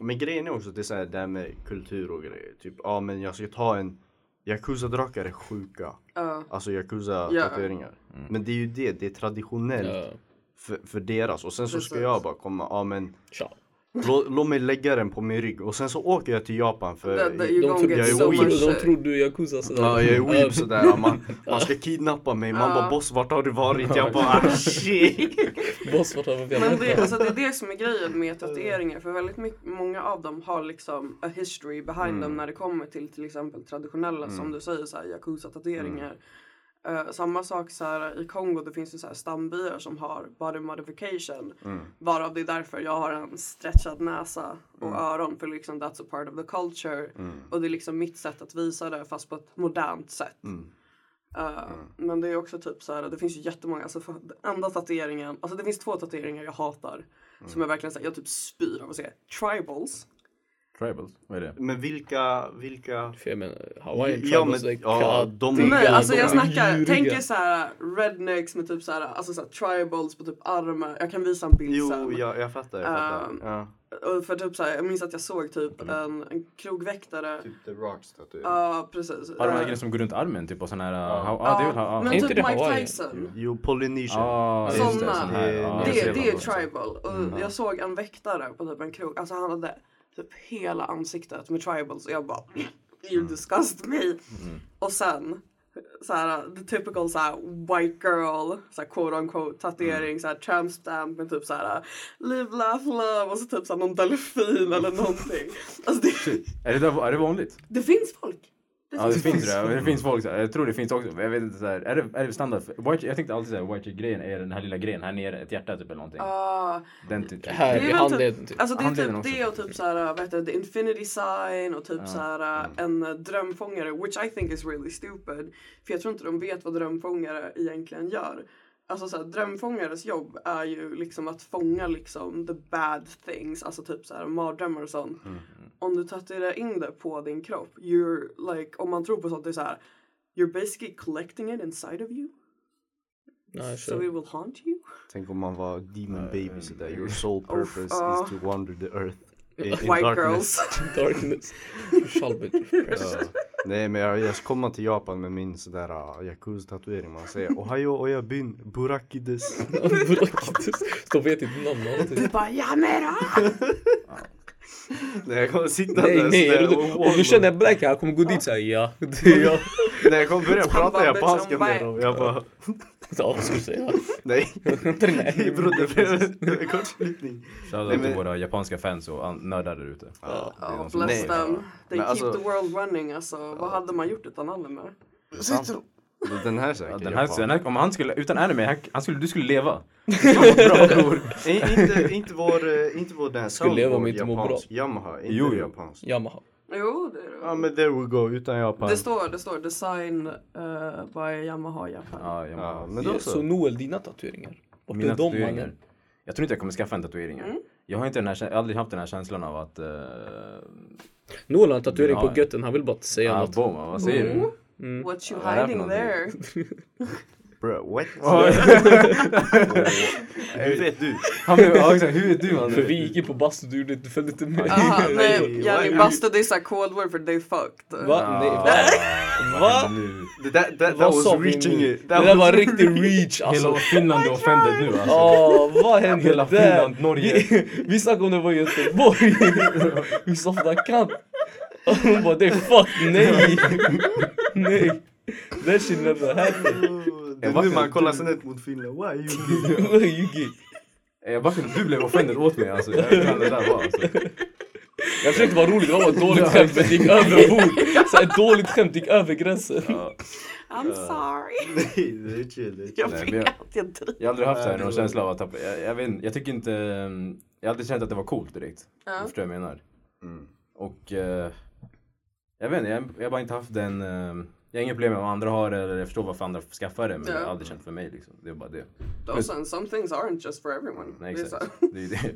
Speaker 2: Men grejen är också att det är så här, det här med kultur och grejer. Typ, ja ah, men jag ska ta en Yakuza-drakar är sjuka.
Speaker 3: Ja.
Speaker 2: Alltså Yakuza-tatueringar.
Speaker 4: Mm.
Speaker 2: Men det är ju det, det är traditionellt
Speaker 1: Ja.
Speaker 2: för, för deras. Och sen så ska
Speaker 3: Precis.
Speaker 2: jag bara komma, ja ah, men
Speaker 1: Tja.
Speaker 2: Lå, låt mig lägga den på min rygg och sen så åker jag till Japan för
Speaker 3: That- that
Speaker 1: De
Speaker 3: you gonna
Speaker 1: tror,
Speaker 2: jag
Speaker 3: get
Speaker 2: är
Speaker 3: so
Speaker 2: weird.
Speaker 3: much
Speaker 1: de,
Speaker 3: shit.
Speaker 1: tror du är yakuza sådär.
Speaker 2: Ja, jag är
Speaker 1: Ja.
Speaker 2: weeb sådär. Man, man ska kidnappa mig. Man
Speaker 3: Ja.
Speaker 2: bara boss vart har du varit? Jag bara ah, shit.
Speaker 1: Boss vart har vi
Speaker 3: Men det, alltså, det är det som är grejen med tatueringar för väldigt mycket, många av dem har liksom a history behind them när det kommer till till exempel traditionella som du säger så här yakuza-tatueringar. Eh, samma sak så här, i Kongo, det finns ju så här stambyar som har body modification. Varav det är därför jag har en stretchad näsa och öron för liksom that's a part of the culture. Och det är liksom mitt sätt att visa det fast på ett modernt sätt. Eh,
Speaker 2: Mm.
Speaker 3: Men det är också typ så här, det finns ju jättemånga, alltså för, den enda tatueringen, alltså det finns två tatueringar jag hatar.
Speaker 2: Mm.
Speaker 3: Som jag verkligen säger, jag typ spyr av att se. Tribals.
Speaker 4: Tribals, vad är det?
Speaker 2: Men vilka, vilka?
Speaker 1: För jag menar, Hawaiian
Speaker 2: Ja, men-
Speaker 1: tribals, like,
Speaker 2: ja,
Speaker 1: god
Speaker 2: de-
Speaker 1: damn,
Speaker 3: Nej, alltså jag
Speaker 1: de är
Speaker 3: snackar,
Speaker 1: djuriga.
Speaker 3: tänk er så här rednecks med typ så här, alltså så här tribals på typ armar. Jag kan visa en bild
Speaker 2: Jo,
Speaker 3: sen.
Speaker 2: jag, jag fattar. Jag fattar.
Speaker 3: Um,
Speaker 2: ja.
Speaker 3: Och för typ så här, jag minns att jag såg typ en, en krogväktare.
Speaker 2: Mm. Typ The Rocks tatuering.
Speaker 3: Ja, precis.
Speaker 4: Har de
Speaker 3: Eh,
Speaker 4: här grejerna som går runt armen typ och sån här... Ja,
Speaker 3: ja,
Speaker 4: ah, det är väl... ah,
Speaker 3: men
Speaker 4: ah.
Speaker 1: Inte
Speaker 3: typ
Speaker 1: det
Speaker 3: Mike
Speaker 1: Hawaii?
Speaker 3: Tyson.
Speaker 2: Jo, Polynesian.
Speaker 4: Ah,
Speaker 3: Såna.
Speaker 4: just det, sån här.
Speaker 2: Det-
Speaker 4: Ja, jag
Speaker 3: Det,
Speaker 4: ser
Speaker 3: det är
Speaker 4: vad de har.
Speaker 3: tribal. Och
Speaker 4: Mm,
Speaker 3: jag såg en väktare på typ en krog. Alltså han hade typ hela ansiktet med tribals. Och jag bara,
Speaker 4: Mm.
Speaker 3: you disgust me. Och sen, så här, the typical så här, white girl, så här, quote unquote tatuering,
Speaker 4: Mm.
Speaker 3: så här, tramp stamp med typ så här live, laugh, love och så typ så här, någon delfin eller någonting. Alltså det,
Speaker 4: Är det, där, är det vanligt?
Speaker 3: det finns folk.
Speaker 4: Ja det finns det. Det finns folk så här. Jag tror det finns också. Jag vet inte så här. Är det, är det standard? för- White, jag tänkte alltid säga white grejen är den här lilla grejen här nere. Ett hjärta typ eller någonting.
Speaker 3: Ah,
Speaker 4: Den typ.
Speaker 1: Här
Speaker 3: Det är
Speaker 1: i
Speaker 3: väl
Speaker 1: handleden
Speaker 3: typ-
Speaker 1: typ.
Speaker 3: Alltså det är typ
Speaker 4: Handleden också.
Speaker 3: det och typ såhär, vad heter det, the infinity sign och typ såhär
Speaker 2: Mm.
Speaker 3: en eh, drömfångare which I think is really stupid. För jag tror inte de vet vad drömfångare egentligen gör. Alltså såhär, drömfångares jobb är ju liksom att fånga liksom the bad things, alltså typ såhär mardrömmar och sånt.
Speaker 2: Mm.
Speaker 3: Om du tatuerar in det på din kropp, you're like, om man tror på sånt det är såhär, you're basically collecting it inside of you.
Speaker 1: Nej,
Speaker 3: So it
Speaker 1: sure.
Speaker 3: will haunt you.
Speaker 2: Tänk om man var demon baby sådär. Your sole purpose
Speaker 3: ja.
Speaker 2: is to wander the earth. In, in
Speaker 3: White
Speaker 2: darkness.
Speaker 3: girls.
Speaker 1: Darkness. Chalbert.
Speaker 2: Ja. Nej men jag, jag ska komma till Japan med min sådär uh, yakuza-tatuering. Man säger Ohayo oyabin burakides.
Speaker 1: De vet inte namn alltid.
Speaker 3: Du bara, Jamera!
Speaker 2: Nej jag kommer sitta
Speaker 1: Nej,
Speaker 2: där
Speaker 1: nej.
Speaker 2: sådär
Speaker 1: Är du,
Speaker 2: och-
Speaker 1: om du känner black, jag kommer gå dit såhär, ja. Det är jag.
Speaker 2: Nej jag kommer börja prata
Speaker 3: bara,
Speaker 2: japanska
Speaker 3: bitch, I'm
Speaker 2: med dem. Jag bara
Speaker 1: Ja, vad ska du säga?
Speaker 2: nej.
Speaker 1: Nej.
Speaker 2: Bror det blev en kortslutning. Nej,
Speaker 4: Shoutout
Speaker 2: men-
Speaker 4: till våra japanska fans och an- nördar där ute.
Speaker 2: Ja.
Speaker 4: Det är
Speaker 3: Ja,
Speaker 4: de som-
Speaker 3: bless
Speaker 2: Nej.
Speaker 3: them.
Speaker 2: Men
Speaker 3: They keep
Speaker 2: alltså-
Speaker 3: the world running. Alltså, vad hade man gjort utan anime?
Speaker 2: Sant. Den här säkert.
Speaker 4: Ja, den här, den här, om han skulle, utan anime, han, han skulle, du skulle leva.
Speaker 2: inte, inte vår, eh, inte vår den här
Speaker 1: Skulle leva om
Speaker 2: soundboard
Speaker 1: inte må bra.
Speaker 2: japansk. Yamaha, inte
Speaker 4: Jo, jo.
Speaker 2: japansk.
Speaker 1: Yamaha.
Speaker 3: Jo, det är det.
Speaker 2: Ja men there we go, utan Japan.
Speaker 3: Det står, det står design eh, by Yamaha Japan.
Speaker 4: Ja, jag
Speaker 2: Ja,
Speaker 4: menar.
Speaker 2: men då
Speaker 1: Så
Speaker 2: så.
Speaker 1: Noel, dina tatueringar? Vart
Speaker 4: Mina
Speaker 1: är de
Speaker 4: tatueringar.
Speaker 1: mannen?
Speaker 4: Jag tror inte jag kommer skaffa en tatuering. Jag har inte den här, kä- jag har aldrig haft den här känslan av att... Uh,
Speaker 1: Noel har en tatuering
Speaker 4: Ja.
Speaker 1: på götten, han vill bara inte säga
Speaker 4: ah,
Speaker 1: något.
Speaker 4: Boma, vad säger
Speaker 3: Mm.
Speaker 4: du?
Speaker 3: What you
Speaker 4: Vad är Mm. det här för
Speaker 3: hiding there?
Speaker 4: någonting?
Speaker 2: Bro, what? Hur vet du?
Speaker 4: Han blev, ja, exakt, hur vet du man?
Speaker 1: För vi gick in på bastu, du gjorde inte följde inte med.
Speaker 3: Aha, Ah, nej,
Speaker 2: Why
Speaker 3: Jenny
Speaker 2: you-
Speaker 3: bastu det är såhär cold word för they fucked.
Speaker 1: Va? Nej, va? Va?
Speaker 4: Ah. Nu.
Speaker 2: Det där, that,
Speaker 1: Vad
Speaker 2: that
Speaker 1: sa
Speaker 2: was
Speaker 1: vi
Speaker 2: reaching
Speaker 1: nu?
Speaker 2: it.
Speaker 1: Det där var riktig reach alltså.
Speaker 4: Hela Finland är offended nu alltså.
Speaker 1: Åh, vad hände
Speaker 4: Hela
Speaker 1: där?
Speaker 4: Finland, Norge.
Speaker 1: Vi, vi snackade om det var i Göteborg. vi softade kant. Och hon bara, det är fuck nej. nej. That shit never happened.
Speaker 2: Det är nu man kollar snett mot Finland. Why you
Speaker 1: Vad är Yugi?
Speaker 4: Eh, Varför du blev offended åt mig alltså. Jag vet inte vad det där var alltså.
Speaker 1: Jag försökte vara rolig, det var bara ett dåligt skämt men det gick överbord. Så ett dåligt skämt gick över gränsen.
Speaker 4: Ja.
Speaker 3: I'm sorry.
Speaker 2: Nej, det är chill. Det är chill.
Speaker 3: Jag
Speaker 4: Nej,
Speaker 3: vet,
Speaker 4: men jag-
Speaker 3: jag driver.
Speaker 4: Jag har aldrig haft så här,
Speaker 2: Nej,
Speaker 4: någon
Speaker 2: det-
Speaker 4: känsla av att tappa, jag, jag vet inte, jag tycker inte, ehm, jag har aldrig känt att det var coolt direkt.
Speaker 3: Ja.
Speaker 4: Du förstår vad jag menar.
Speaker 2: Mm.
Speaker 4: Och eh, jag vet inte, jag, jag har bara inte haft den, ehm, jag har inga problem med vad andra har eller jag förstår varför andra skaffar det men
Speaker 3: Ja.
Speaker 4: jag har aldrig känt för mig liksom. Det är bara det.
Speaker 3: Those and some things aren't just for everyone.
Speaker 4: Nej,
Speaker 3: Det är så.
Speaker 4: exakt. Det är det.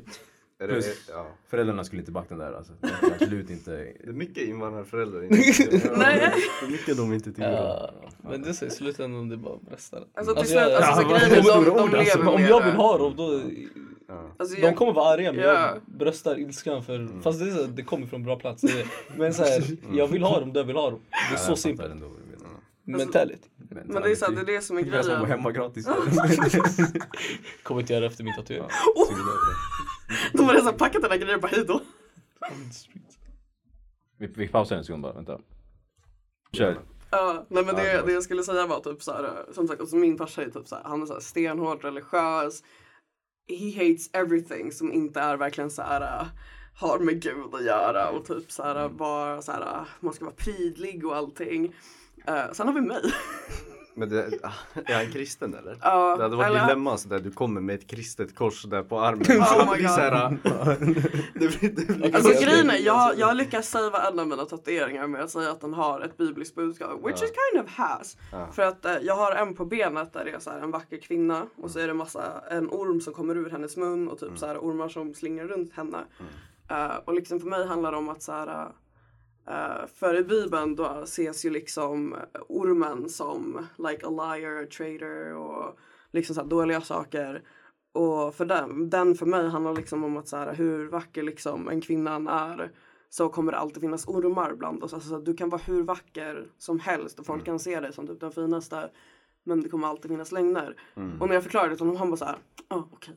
Speaker 2: Är det, ja.
Speaker 4: Föräldrarna skulle inte backa den där alltså. Det är Absolut inte.
Speaker 2: det är mycket invandrarföräldrar. Nej. Det är mycket de inte tycker om.
Speaker 1: Ja, men det säger i slutändan det bara brästar.
Speaker 3: Alltså till slut, alltså så
Speaker 4: ja,
Speaker 3: grejen är
Speaker 4: vad-
Speaker 3: de, de
Speaker 4: ord, alltså,
Speaker 3: lever
Speaker 1: om
Speaker 3: med
Speaker 1: jag vill
Speaker 3: det.
Speaker 1: ha dem då,
Speaker 3: Alltså,
Speaker 1: de
Speaker 3: jag,
Speaker 1: kommer vara arga men
Speaker 3: Ja.
Speaker 1: jag bröstar ilskan för, fast det, är så, här, det kommer från bra plats. det är- Men så här, jag vill ha dem då jag vill ha dem. Det är så simpelt.
Speaker 3: Alltså,
Speaker 1: Mentality.
Speaker 3: men det är så här, det
Speaker 4: Typ-
Speaker 3: är det som är
Speaker 4: Jag ska vara
Speaker 3: grejen.
Speaker 4: hemma gratis.
Speaker 1: Kommer inte göra efter min tatuering.
Speaker 3: Oh. De har redan packat den här grejen och bara hejdå.
Speaker 4: vi, vi pausar en sekund bara, vänta. Kör.
Speaker 3: Ja, nej men
Speaker 4: Ja, det
Speaker 3: det,
Speaker 4: var-
Speaker 3: det jag skulle säga var typ så här, som sagt, alltså min farsa är typ så här, han är så här stenhård religiös. He hates everything som inte är verkligen så här äh, har med Gud att göra och typ så här
Speaker 2: Mm.
Speaker 3: bara så här, äh, man ska vara prydlig och allting. Eh, sen har vi mig.
Speaker 2: Men det, ah, är han kristen eller?
Speaker 3: Ja,
Speaker 2: det hade varit
Speaker 3: eller-
Speaker 2: dilemma så där du kommer med ett kristet kors där på armen.
Speaker 3: Oh my
Speaker 2: det är så här, ah, det blir, det blir
Speaker 1: Alltså,
Speaker 3: Alltså grejen är, jag, jag lyckas säga en av mina tatueringar med att säga att den har ett bibliskt budskap, which it kind of has. För att eh, jag har en på benet där det är så här, en vacker kvinna och så är det massa, en orm som kommer ur hennes mun och typ så här, ormar som slingrar runt henne. Eh, och liksom för mig handlar det om att så här, eh, för i Bibeln då ses ju liksom ormen som like a liar, a traitor och liksom så här, dåliga saker. Och för den, den för mig handlar liksom om att så här, hur vacker liksom en kvinna än är så kommer det alltid finnas ormar bland oss. Alltså, så att du kan vara hur vacker som helst och folk kan se dig som typ den finaste. Men det kommer alltid finnas lögner. Och när jag förklarade det till honom, han bara såhär, ja ah, okej.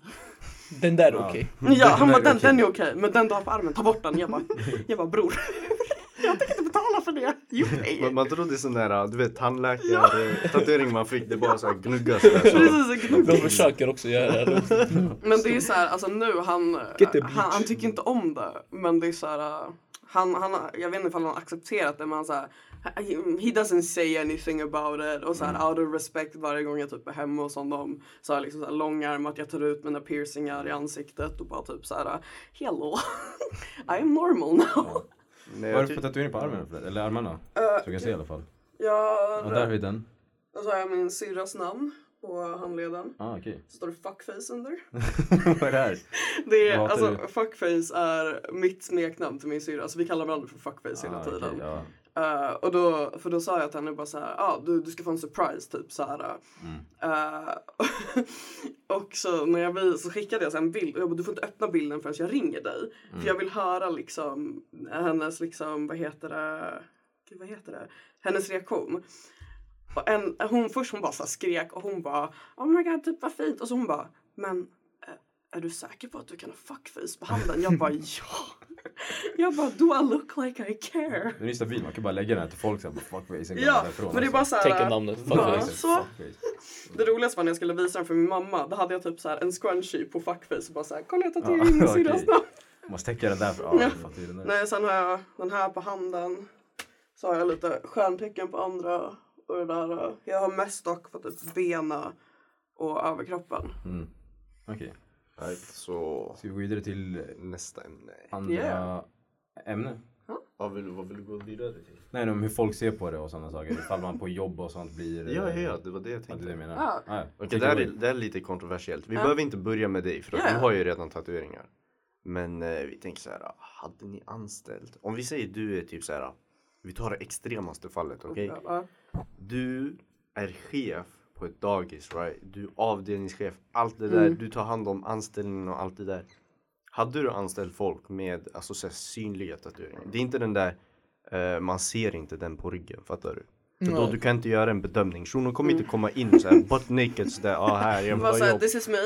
Speaker 1: Den där är okej.
Speaker 3: Ja, han
Speaker 4: där
Speaker 3: bara
Speaker 4: är
Speaker 3: den,
Speaker 4: okej.
Speaker 3: den är okej, men den du har på armen, ta bort den. Jag bara, jag bara bror, jag tänkte betala för det. You pay.
Speaker 2: Man, man trodde sån där, ah, du vet tandläkare, tatuering man fick, det bara så här gnuggas där. Så.
Speaker 3: Precis, jag
Speaker 1: De försöker också göra det.
Speaker 3: Men det är så här, alltså nu han,
Speaker 1: Get the
Speaker 3: han, han tycker inte om det. Men det är så här, uh, han, han, jag vet inte ifall han har accepterat det men han så här, he doesn't say anything about it. Och så här
Speaker 1: Mm.
Speaker 3: out of respect varje gång jag typ är hemma hos honom. Så här liksom så här långärmat, jag tar ut mina piercingar i ansiktet och bara typ så här, uh, hello, I am normal now.
Speaker 2: Nej,
Speaker 4: Vad är
Speaker 2: jag
Speaker 4: det för
Speaker 2: tyck-
Speaker 4: tatuering på armen? Fred? Eller
Speaker 3: Eh,
Speaker 4: armarna? Så jag kan se i alla fall.
Speaker 3: Jag,
Speaker 4: Ja, där har vi den.
Speaker 3: och så har jag min syrras namn på handleden.
Speaker 4: Ah, okej.
Speaker 3: Så står det fuckface under.
Speaker 4: Vad är det här?
Speaker 3: Det är,
Speaker 4: Vad hatar
Speaker 3: alltså, fuckface är mitt smeknamn till min syrra. Alltså, vi kallar varandra för fuckface hela
Speaker 4: Ah, okej,
Speaker 3: tiden.
Speaker 4: ja.
Speaker 3: Eh, och då, för då sa jag till henne bara så här, ah, du, du ska få en surprise typ så här. Eh, och så när jag vi, så skickade jag så här en bild och jag bara, du får inte öppna bilden förrän jag ringer dig. För jag vill höra liksom hennes liksom, vad heter det, gud vad heter det, hennes reaktion. Och en, hon först hon bara så här skrek och hon bara oh my god typ vad fint och så hon bara men eh, är du säker på att du kan ha fuckface på handen? Jag bara ja. Jag bara do I look like I care?
Speaker 4: Den är ju stabil, man kan bara lägga den här till folk såhär, fuckface. sen går man
Speaker 3: Ja,
Speaker 4: därifrån,
Speaker 3: men det är
Speaker 4: alltså.
Speaker 3: bara så
Speaker 1: Tänker
Speaker 3: här.
Speaker 1: namnet.
Speaker 3: Ja.
Speaker 1: Fuckface.
Speaker 4: Fuckface, fuckface.
Speaker 3: Det roligaste var när jag skulle visa den för min mamma. Då hade jag typ så här en scrunchie på fuckface och bara så här, kolla jag tatuerar in min
Speaker 4: Ja,
Speaker 3: syrras
Speaker 4: okej.
Speaker 3: namn.
Speaker 4: Måste täcka den där. för- Ja, jag fattar ju den där.
Speaker 3: Nej, sen har jag den här på handen. Så har jag lite stjärntecken på andra och det där. Jag har mest dock för typ bena och överkroppen.
Speaker 4: Mm. Okej.
Speaker 2: Right, så
Speaker 4: Ska vi gå vidare till
Speaker 2: nästa ämne.
Speaker 4: andra
Speaker 3: Yeah.
Speaker 4: ämnen?
Speaker 2: Vad vill, vad vill du gå vidare till?
Speaker 4: Nej, men om hur folk ser på det och sådana saker. Ifall man på jobb och sånt blir...
Speaker 2: Ja, ja, det var det jag
Speaker 4: Ja, det är det
Speaker 2: tänkte.
Speaker 4: jag menar. Ah,
Speaker 3: Ja.
Speaker 4: Ja, ja.
Speaker 2: Okej, det här är, det här är lite kontroversiellt. Vi
Speaker 3: Ja.
Speaker 2: behöver inte börja med dig för att
Speaker 3: Ja,
Speaker 2: du
Speaker 3: ja.
Speaker 2: har ju redan tatueringar. Men eh, vi tänker så här, ah, hade ni anställt? Om vi säger du är typ så här, ah, vi tar det extremaste fallet, okej?
Speaker 3: Ja.
Speaker 2: Du är chef på ett dagis, right? Du är avdelningschef, allt det där.
Speaker 3: Mm.
Speaker 2: Du tar hand om anställningen och allt det där. Hade du anställt folk med alltså, så här, synliga tatueringar? Det är inte den där, eh, man ser inte den på ryggen, fattar du? För då,
Speaker 1: Nej.
Speaker 2: du kan inte göra en bedömning. Shunon kommer
Speaker 3: Mm.
Speaker 2: inte komma in såhär butt naked sådär, ja ah, här, jag
Speaker 3: Det
Speaker 2: vill
Speaker 3: var
Speaker 2: ha
Speaker 3: såhär,
Speaker 2: jobb.
Speaker 3: this is me.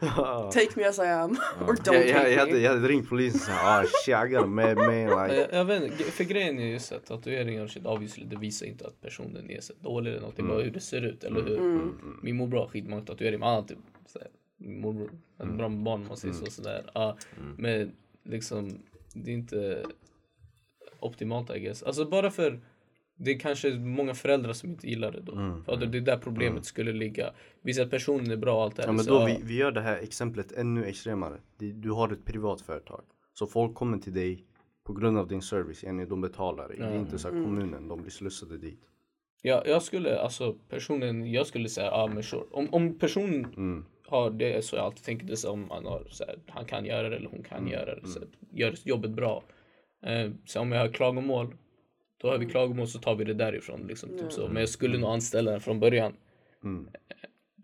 Speaker 2: Ja.
Speaker 3: Take me as I am. Or don't
Speaker 2: jag,
Speaker 3: take
Speaker 2: jag, jag, hade,
Speaker 3: me.
Speaker 2: jag hade ringt polisen såhär, ah shit I got a mad man
Speaker 1: Ja,
Speaker 2: like.
Speaker 1: Eh, Jag, jag vet inte, för grejen är ju så att tatueringar och shit obviously det visar inte att personen är så dålig eller någonting,
Speaker 2: Mm.
Speaker 1: bara hur det ser ut, eller hur? Min morbror har skitmånga tatueringar, men han har typ såhär, min morbror,
Speaker 2: Mm.
Speaker 1: en bra barn om man säger så, sådär. Ja, Men liksom, det är inte optimalt I guess. Alltså bara för det är kanske många föräldrar som inte gillar det då.
Speaker 2: Mm,
Speaker 1: För att det är där problemet skulle ligga. Visst att personen är bra och allt det här.
Speaker 2: Ja men
Speaker 1: så,
Speaker 2: då
Speaker 1: ja.
Speaker 2: vi, vi gör det här exemplet ännu extremare. Du, du har ett privat företag. Så folk kommer till dig på grund av din service, yani de betalar dig. Det är inte så
Speaker 3: Mm.
Speaker 2: här kommunen, de blir slussade dit.
Speaker 1: Ja, jag skulle alltså personen, jag skulle säga ja ah, men sure. Om, om personen har det så jag alltid tänker det som han har så här, han kan göra det eller hon kan göra det. Så att, gör jobbet bra. Eh, så om jag har klagomål, då har vi klagomål så tar vi det därifrån liksom. Typ så. Men jag skulle nog anställa den från början. Eh,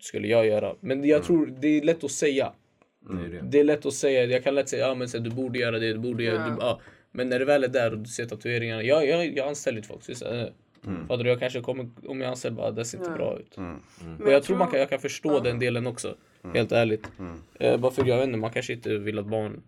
Speaker 1: Skulle jag göra. Men jag tror det är lätt att säga.
Speaker 4: Det är det.
Speaker 1: Det är lätt att säga, jag kan lätt säga ja men så här, du borde göra det, du borde göra det. Ja. Men när det väl är där och du ser tatueringarna. Jag, jag, jag anställer inte folk. Så jag säger, mm. Fattar du? Jag kanske kommer, om jag anställer bara, det ser inte bra ut.
Speaker 4: Mm,
Speaker 3: Men
Speaker 1: Och jag tror man kan, jag kan förstå den delen också. Helt ärligt.
Speaker 4: Mm.
Speaker 1: Eh, bara för jag vet inte, man kanske inte vill att barn,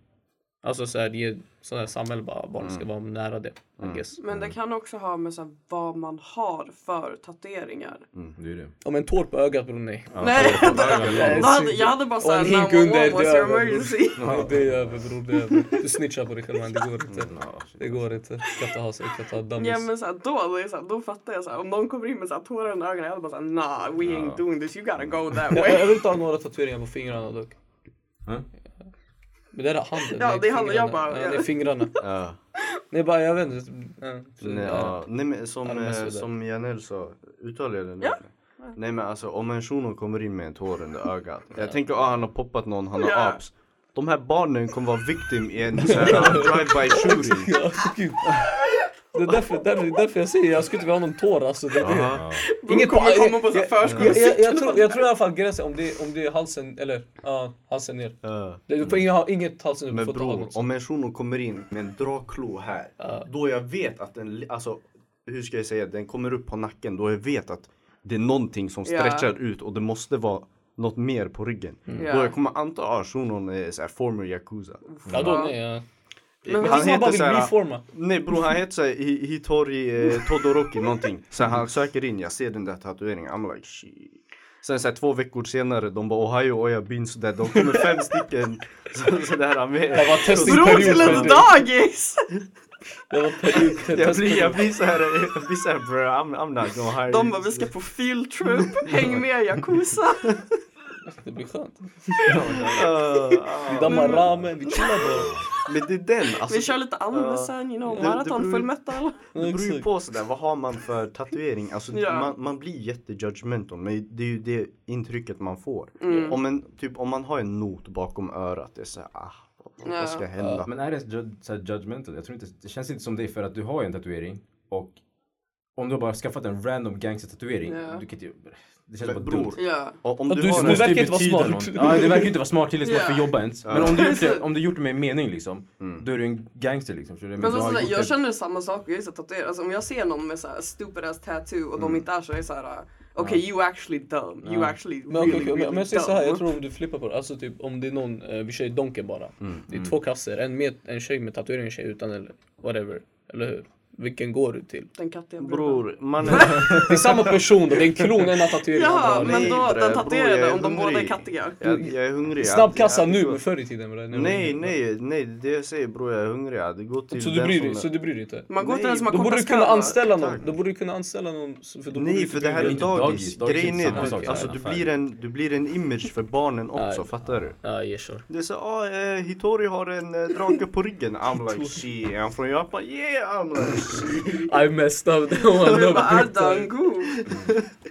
Speaker 1: alltså så här, det är sådana här samhälle bara, barn
Speaker 4: Mm.
Speaker 1: ska vara nära det. I guess.
Speaker 3: Men det kan också ha med så här, vad man har för tatueringar.
Speaker 4: Det är det.
Speaker 1: Om en tår på ögat bror, nej.
Speaker 3: Nej,
Speaker 1: Nej,
Speaker 3: jag hade, jag hade bara
Speaker 1: Och
Speaker 3: såhär,
Speaker 1: en hink
Speaker 3: number
Speaker 1: under
Speaker 3: one was your
Speaker 1: dörren.
Speaker 3: emergency.
Speaker 1: Det är över bror, det är över. Du snitchar på dig själv, man. det går inte.
Speaker 4: Ja, shit.
Speaker 1: Det går inte. Kan inte ha sig, kan inte ha dummies.
Speaker 3: Ja men såhär, då, det är såhär, då fattar jag såhär, om någon kommer in med såhär, tårar under ögonen, jag hade bara såhär nah we ain't doing this, you gotta go that
Speaker 1: Jag,
Speaker 3: way.
Speaker 1: jag vill ta några tatueringar på fingrarna dock.
Speaker 4: Ja.
Speaker 1: Men det där är handen.
Speaker 3: Ja,
Speaker 1: nej,
Speaker 3: det är handen, jag
Speaker 1: fingrarna.
Speaker 3: bara-
Speaker 1: Ja, det är fingrarna.
Speaker 2: Ja.
Speaker 1: Nej, bara jag vet inte. Ja, så-
Speaker 2: Nej,
Speaker 1: ja.
Speaker 2: ja. Nej men som,
Speaker 1: Ja, de är
Speaker 2: eh,
Speaker 1: sådär.
Speaker 2: som Janel sa, uttalar jag det nu?
Speaker 3: Ja.
Speaker 2: Nej men alltså om en shuno kommer in med en tår under ögat. Jag tänker ah han har poppat någon, han har
Speaker 3: Ja.
Speaker 2: abs. De här barnen kommer vara victim i en så här drive-by shooting.
Speaker 1: Ja, gud. Det är därför, därför, därför jag säger jag skulle inte vilja ha någon tår alltså. Det, det.
Speaker 2: Aha.
Speaker 3: Inget kommer komma på såhär
Speaker 1: Jag,
Speaker 3: förskolecykel.
Speaker 1: jag, jag, tror, jag tror i alla fall gränsen om det, om det är halsen eller ja, halsen ner.
Speaker 2: Ja.
Speaker 1: Det- Du får inget, ha- inget halsen upp. du
Speaker 2: Men
Speaker 1: får inte ha
Speaker 2: bror,
Speaker 1: något.
Speaker 2: om en shuno kommer in med en draklo här, då jag vet att den, li- alltså hur ska jag säga, den kommer upp på nacken, då jag vet att det är någonting som
Speaker 3: Ja.
Speaker 2: stretchar ut och det måste vara något mer på ryggen.
Speaker 3: Ja.
Speaker 2: Då jag kommer anta att ah, shunon är så här former yakuza.
Speaker 1: Ja, då nej. Ja.
Speaker 2: Men
Speaker 1: Han heter bara
Speaker 2: så
Speaker 1: vill
Speaker 2: här-
Speaker 1: reforma.
Speaker 2: Nej bror han heter såhär Hi- Hitori eh, Todoroki någonting. Så han söker in, jag ser den där tatueringen, I'm like shit. Sen såhär två veckor senare, de bara Ohio oja beans där. De kommer fem stycken så- sådär
Speaker 1: Det
Speaker 2: med.
Speaker 1: var testperiod.
Speaker 3: Bror till
Speaker 1: för
Speaker 3: ett
Speaker 1: dig.
Speaker 3: dagis!
Speaker 1: Det var period, te-
Speaker 2: Jag blir,
Speaker 1: testperiod.
Speaker 2: jag blir såhär, jag blir såhär bro, I'm, I'm not gonna hire
Speaker 3: De
Speaker 2: you."
Speaker 3: bara, vi ska på field trip, häng med Yakuza.
Speaker 1: Det blir skönt.
Speaker 2: Uh,
Speaker 1: Vi dammar ramen, vi chillar bara.
Speaker 2: Men det är den alltså.
Speaker 3: Vi kör lite anime sen, you know,
Speaker 2: Det- det
Speaker 3: maraton,
Speaker 2: beror-
Speaker 3: full metal.
Speaker 2: Det beror ju
Speaker 1: Exakt.
Speaker 2: på sådär, vad har man för tatuering? Alltså
Speaker 3: Ja.
Speaker 2: man, man blir jättejudgmental men det är ju det intrycket man får.
Speaker 3: Mm.
Speaker 2: Om, en, typ, om man har en not bakom örat, det är såhär ah, vad,
Speaker 3: Ja.
Speaker 2: vad ska hända?
Speaker 4: Men är det ju- så här judgmental? Jag tror inte, det känns inte som dig för att du har ju en tatuering och om du har bara skaffat en random gangster-tatuering,
Speaker 3: Ja.
Speaker 4: du kan ju... Det känns
Speaker 2: Men
Speaker 4: bara dumt.
Speaker 2: bror,
Speaker 3: Ja.
Speaker 2: o- om
Speaker 1: Ja,
Speaker 2: du,
Speaker 1: du-
Speaker 2: har
Speaker 1: du-
Speaker 2: en,
Speaker 1: verkar
Speaker 4: ju
Speaker 1: inte vara
Speaker 4: betyda
Speaker 1: smart.
Speaker 4: något. Ja, det verkar ju inte vara smart tillen som man får
Speaker 3: Ja.
Speaker 4: jobba ens. Men om du gjort det, om du gjort det med mening liksom, då är du en gangster liksom. förstår du? Men
Speaker 3: Men
Speaker 4: du
Speaker 3: så,
Speaker 4: har
Speaker 3: sådär,
Speaker 4: gjort
Speaker 3: jag
Speaker 4: det-
Speaker 3: känner samma sak, jag är så tatuerad. Alltså, om jag ser någon med såhär stupid ass tattoo och
Speaker 1: Mm.
Speaker 3: de inte är så, jag är såhär uh, okej you actually dumb, you actually
Speaker 1: Men okej,
Speaker 3: really,
Speaker 1: okej, om jag- om
Speaker 3: really
Speaker 1: jag säger så här, jag
Speaker 3: dumb.
Speaker 1: tror om du flippar på det. Alltså typ om det är någon, eh, vi kör ju
Speaker 2: Mm,
Speaker 1: donken bara. Det är två kasser, en, med, en tjej med tatuering, en tjej utan eller whatever. Eller hur? Vilken går du till?
Speaker 3: Den kattiga bruden.
Speaker 2: Bror, mannen...
Speaker 1: Det är samma person då, det är en klon, en har tatuering.
Speaker 3: Jaha,
Speaker 1: Ja,
Speaker 3: men då den
Speaker 2: Bror, jag
Speaker 3: tatuerade
Speaker 2: är
Speaker 3: om de båda är
Speaker 2: hungrig.
Speaker 3: kattiga.
Speaker 2: jag, jag är hungrig. jag hade-
Speaker 1: Snabbkassa
Speaker 2: jag hade
Speaker 1: nu, men
Speaker 2: gått-
Speaker 1: förr i tiden. bror. Nu-
Speaker 2: Nej, nej, nej. Det jag säger bror, jag är hungrig. Jag hade gått till
Speaker 1: Så du
Speaker 2: den
Speaker 1: bryr
Speaker 2: som
Speaker 1: dig,
Speaker 2: är-
Speaker 1: så du bryr dig inte?
Speaker 3: Man går till
Speaker 2: Nej,
Speaker 3: den som har
Speaker 1: Då borde du
Speaker 3: kortast
Speaker 1: kunna
Speaker 3: kallar.
Speaker 1: anställa någon.
Speaker 2: Tack.
Speaker 1: Då borde du kunna anställa någon. så- För då borde
Speaker 2: Nej
Speaker 1: du
Speaker 2: för det här är
Speaker 1: bry dig.
Speaker 2: dagis.
Speaker 4: Dagis, dagis är
Speaker 2: Grejen
Speaker 4: inte samma
Speaker 2: är
Speaker 4: sak,
Speaker 2: du, alltså,
Speaker 4: ja.
Speaker 2: du, blir en, du blir en image för barnen också,
Speaker 1: Nej.
Speaker 2: fattar du?
Speaker 1: Ja, yeah, sure.
Speaker 2: Det är så, ah, eh, Hitori har en eh, drake på ryggen. I'm like shit, I'm from Japan. Yeah, I'm like shit.
Speaker 1: I messed up.
Speaker 3: Men vad är dango?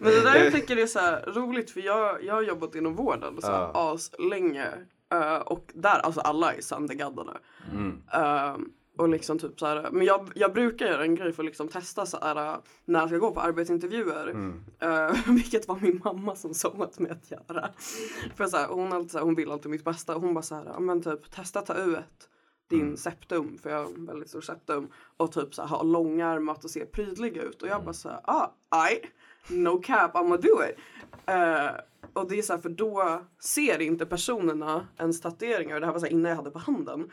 Speaker 3: Men det där jag tycker är så här roligt för jag, jag har jobbat inom vården så här
Speaker 2: Ja.
Speaker 3: aslänge. Eh, och där, alltså alla är söndergaddade. Eh, och liksom typ så här, men jag, jag brukar göra en grej för att liksom testa så här, eh, när jag ska gå på arbetsintervjuer. Eh, vilket var min mamma som sa åt mig att göra. För så här, hon, alltid, så här, hon vill alltid mitt bästa. Hon bara så här, "Ja, men typ testa ta ut din septum, för jag har en väldigt stor septum. Och typ så här, ha långärmat och se prydlig ut. Och jag bara så här, ah, I, no cap, I'mma do it. Eh, och det är så här, för då ser inte personerna ens tatueringar. Och det här var så här, innan jag hade på handen.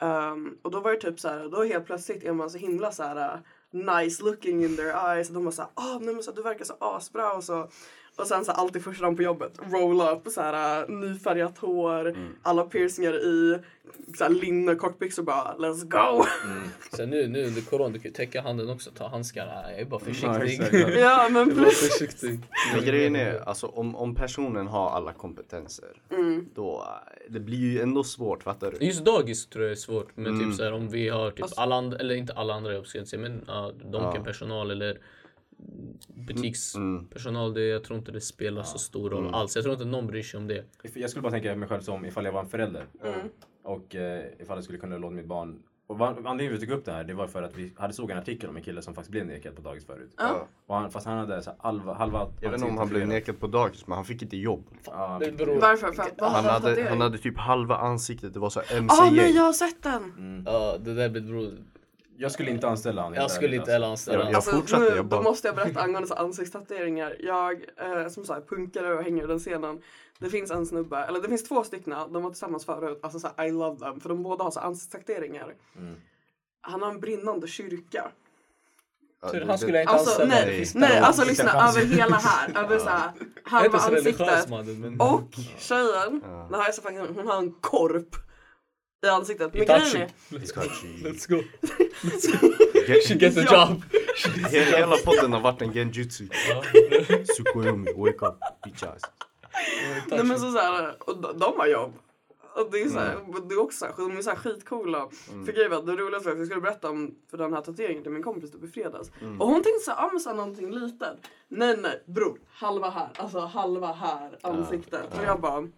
Speaker 3: Ehm, och då var det typ så här, då helt plötsligt är man så himla så här äh, nice looking in their eyes. Och de var så här, ah, nej, men så här, du verkar så asbra och så. Och sen så här, alltid första dagen på jobbet, roll up, så här, äh, nyfärgat hår,
Speaker 2: Mm.
Speaker 3: alla piercingar i, så här, linne, kortbyxor bara, let's go!
Speaker 2: Mm.
Speaker 1: Sen nu, nu under corona, du kan ju täcka handen också. Ta handskar. Nej, jag är bara
Speaker 4: Ja,
Speaker 1: försiktig.
Speaker 4: exakt,
Speaker 1: Jag
Speaker 4: ja.
Speaker 3: ja men
Speaker 1: är bara
Speaker 3: precis.
Speaker 1: försiktig.
Speaker 2: Men grejen är, alltså, om, om personen har alla kompetenser,
Speaker 3: Mm.
Speaker 2: då eh, det blir ju ändå svårt, fattar du?
Speaker 1: Just dagis tror jag är svårt. Men
Speaker 2: Mm.
Speaker 1: typ så här, om vi har typ
Speaker 3: Alltså-
Speaker 1: alla andra, eller inte alla andra jobb ska jag inte säga, men ja, Donken-personal eller
Speaker 2: Mm.
Speaker 1: butikspersonal. Det, jag tror inte det spelar så stor roll alls. Jag tror inte någon bryr sig om det.
Speaker 4: If- Jag skulle bara tänka mig själv som ifall jag var en förälder.
Speaker 3: Mm.
Speaker 4: Och eh, ifall jag skulle kunna låta mitt barn... Och va- anledningen till att vi tog upp det här det var för att vi hade såg en artikel om en kille som faktiskt blev nekad på dagis förut.
Speaker 2: Ja.
Speaker 4: Och han, fast han hade så här halva... halva
Speaker 2: Jag vet inte om han blev nekad på dagis, men han fick inte jobb.
Speaker 4: Ja,
Speaker 1: Det beror...
Speaker 3: Varför? För att vad
Speaker 2: Han
Speaker 3: har han
Speaker 2: hade,
Speaker 3: tatuering?
Speaker 2: han hade typ halva ansiktet, det var så här
Speaker 3: Ah nej
Speaker 2: mc-gäng.
Speaker 3: jag har sett den!
Speaker 1: Ja, det där beror...
Speaker 4: jag skulle inte anställa honom.
Speaker 1: Jag skulle inte heller anställa.
Speaker 2: alltså- Jag fortsatte,
Speaker 3: Alltså, nu,
Speaker 2: jag bara-
Speaker 3: Då måste jag berätta angående så här ansiktstatueringar. Jag eh, som så här, punkare och hänger i den scenen. Det finns en snubbe, eller det finns två stycken. De var tillsammans förut. Alltså så här, I love them. För de båda har så här, ansiktstatueringar.
Speaker 2: Mm.
Speaker 3: Han har en brinnande kyrka.
Speaker 2: Ja,
Speaker 1: Tur,
Speaker 2: det- Ah,
Speaker 1: han skulle inte
Speaker 3: Alltså
Speaker 1: anställa
Speaker 2: dig.
Speaker 3: nej,
Speaker 1: dig.
Speaker 3: nej alltså
Speaker 4: Fiskar
Speaker 3: lyssna
Speaker 4: chans.
Speaker 3: över hela här. Över så här
Speaker 1: Jag är
Speaker 3: halva
Speaker 1: inte så religiös
Speaker 3: ansiktet.
Speaker 1: mannen men...
Speaker 3: Och tjejen,
Speaker 2: Ja.
Speaker 3: den här är så fucking, hon har en korp i ansiktet. Men
Speaker 1: Itachi.
Speaker 3: grejen är,
Speaker 2: Itachi.
Speaker 1: Let's go. She
Speaker 2: Ge-
Speaker 1: gets a job.
Speaker 2: he- Hela podden har varit en genjutsu. Sukoyomi, wake up, bitch ass.
Speaker 3: Nej
Speaker 2: Alltså.
Speaker 3: men så såhär, och de, de har jobb. Och det är såhär,
Speaker 2: Mm.
Speaker 3: det är också såhär, de är såhär skitcoola. För grejen var att det roligaste var att jag skulle berätta om för den här tatueringen till min kompis typ i fredags.
Speaker 2: Mm.
Speaker 3: Och hon tänkte såhär, ja men såhär någonting litet. Nej nej bror, halva här, alltså halva här ansiktet. Och jag bara,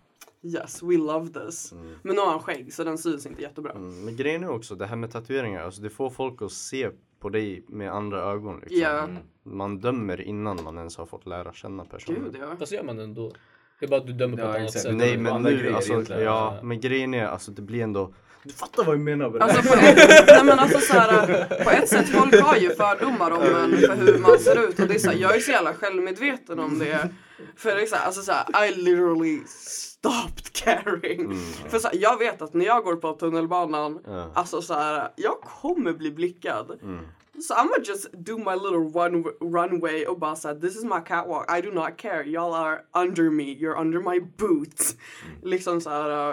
Speaker 3: yes we love this. Men nu har han skägg så den syns inte jättebra.
Speaker 2: Mm, Men grejen är också det här med tatueringar, alltså det får folk att se på dig med andra ögon. Liksom.
Speaker 3: Ja,
Speaker 2: Man dömer innan man ens har fått lära känna personen.
Speaker 3: gud ja.
Speaker 1: Fast gör man det ändå? Det är bara att du dömer på
Speaker 4: Ja,
Speaker 1: ett annat
Speaker 4: exakt.
Speaker 1: sätt.
Speaker 2: Nej
Speaker 4: på
Speaker 2: men
Speaker 4: andra
Speaker 2: nu,
Speaker 4: grejer
Speaker 2: alltså,
Speaker 4: egentligen.
Speaker 2: ja, men grejen är alltså det blir ändå... Du fattar vad jag menar med det
Speaker 3: Alltså på ett, nej men alltså så här, på ett sätt, folk har ju fördomar om en för hur man ser ut och det är så här, jag är så jävla självmedveten om det. För det är så här, alltså så här, I literally stopped caring. För så här, jag vet att när jag går på tunnelbanan,
Speaker 2: Ja.
Speaker 3: alltså så här, jag kommer bli blickad. So I'm gonna just do my little run runway och bara såhär this is my catwalk, I do not care, y'all are under me, you're under my boots. Liksom såhär.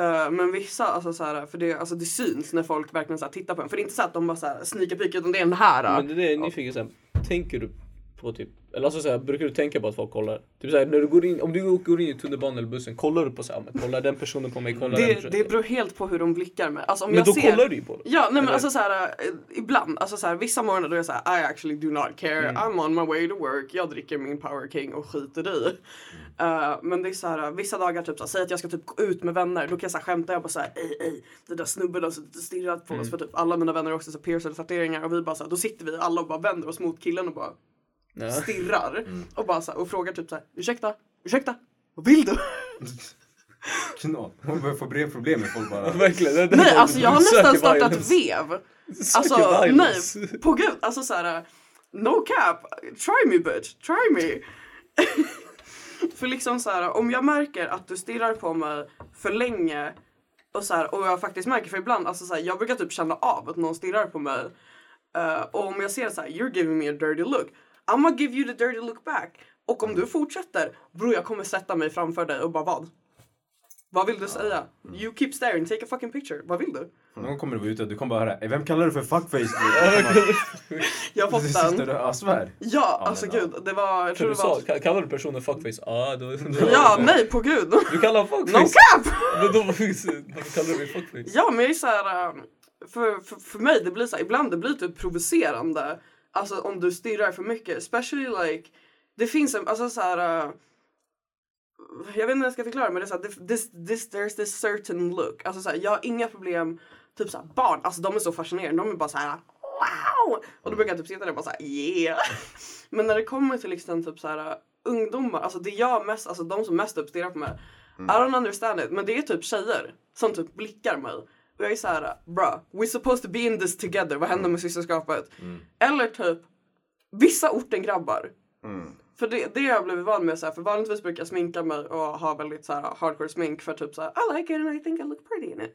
Speaker 3: eh, men vissa, alltså såhär, för det, alltså, det syns när folk verkligen såhär, tittar på en. För det är inte så att de bara såhär sneaker peek utan det är den här. uh.
Speaker 1: Men det är det jag är nyfiken så här, tänker du på typ, eller alltså så här, brukar du tänka på att folk kollar? Typ så här, när du går in, om du går in i tunnelbanan eller bussen, kollar du på så här, men kollar den personen på mig, kollar den
Speaker 3: det,
Speaker 1: personen?
Speaker 3: det beror helt på hur de blickar mig. Alltså, om
Speaker 1: men
Speaker 3: jag
Speaker 1: då
Speaker 3: ser...
Speaker 1: kollar du ju på dem.
Speaker 3: Ja, nej men
Speaker 1: Eller-
Speaker 3: alltså så här, eh, ibland, alltså så här, vissa morgnar då är jag så här, I actually do not care,
Speaker 1: Mm.
Speaker 3: I'm on my way to work, jag dricker min power king och skiter i.
Speaker 1: Mm.
Speaker 3: Eh, men det är så här, vissa dagar, typ så här, säg att jag ska typ gå ut med vänner, då kan jag så här, skämta, jag bara så här, ej, ej, den där snubben har suttit och stirrat
Speaker 1: Mm.
Speaker 3: på oss, för typ alla mina vänner har också så här piercade tatueringar och vi bara så här, då sitter vi alla och bara vänder oss mot killen och bara
Speaker 1: Ja. Mm.
Speaker 3: stirrar och bara så här, och frågar typ så här, ursäkta, ursäkta, vad vill du?
Speaker 4: Knall. Hon börjar få brev- problem med folk bara.
Speaker 1: Verkligen. det är
Speaker 3: Nej,
Speaker 1: bara-
Speaker 3: alltså jag har
Speaker 1: du söker
Speaker 3: nästan startat
Speaker 1: violence.
Speaker 3: vev. Alltså
Speaker 1: Söker
Speaker 3: nej,
Speaker 1: violence.
Speaker 3: på gud, alltså såhär no cap, try me bitch, try me. för liksom såhär om jag märker att du stirrar på mig för länge och såhär och jag faktiskt märker för ibland, alltså såhär jag brukar typ känna av att någon stirrar på mig. Eh, och om jag ser så här, you're giving me a dirty look. I'm gonna give you the dirty look back. Och om du fortsätter, bror jag kommer sätta mig framför dig och bara vad? Vad vill du säga? You keep staring, take a fucking picture. Vad vill du?
Speaker 4: Någon gång kommer du gå ut och du kommer bara höra "Eh, Vem kallar du för fuckface? nu?" Och man-
Speaker 3: Jag har fått
Speaker 4: Sitter
Speaker 3: den.
Speaker 4: du och svär?
Speaker 3: Ja,
Speaker 4: men
Speaker 3: alltså
Speaker 4: ja.
Speaker 3: gud. Det var, jag tror
Speaker 1: Du
Speaker 3: det var... typ-
Speaker 1: sa, ka- kallar du personen fuckface? Ah, då, då,
Speaker 3: Ja, nej på gud.
Speaker 1: Du kallar honom
Speaker 3: No
Speaker 1: fuckface?
Speaker 3: cap!
Speaker 1: Men då, varför kallar du mig fuckface?
Speaker 3: Ja, men jag är så här... ähm, För, för, för mig, det blir så här, ibland det blir typ provocerande. Alltså om du stirrar för mycket. Especially like, det finns en, alltså så här... äh, jag vet inte hur jag ska förklara men det är så här, this- this, this, there's this certain look. Alltså så här, jag har inga problem, typ så här, barn, alltså de är så fascinerande. De är bara så här wow! Och då brukar jag typ sitta där och bara så här yeah. Men när det kommer till liksom typ så här ungdomar, alltså det jag mest, alltså de som mest uppstirrar på mig. I don't understand it, men det är typ tjejer som typ blickar mig. Och jag är så här, bruh, we're supposed to be in this together. Vad händer med systerskapet? Eller typ vissa orten-grabbar. För det, det har jag blivit van med. Så här, för vanligtvis brukar jag sminka mig och ha väldigt så här, hardcore smink för typ så här, I like it and I think I look pretty in it.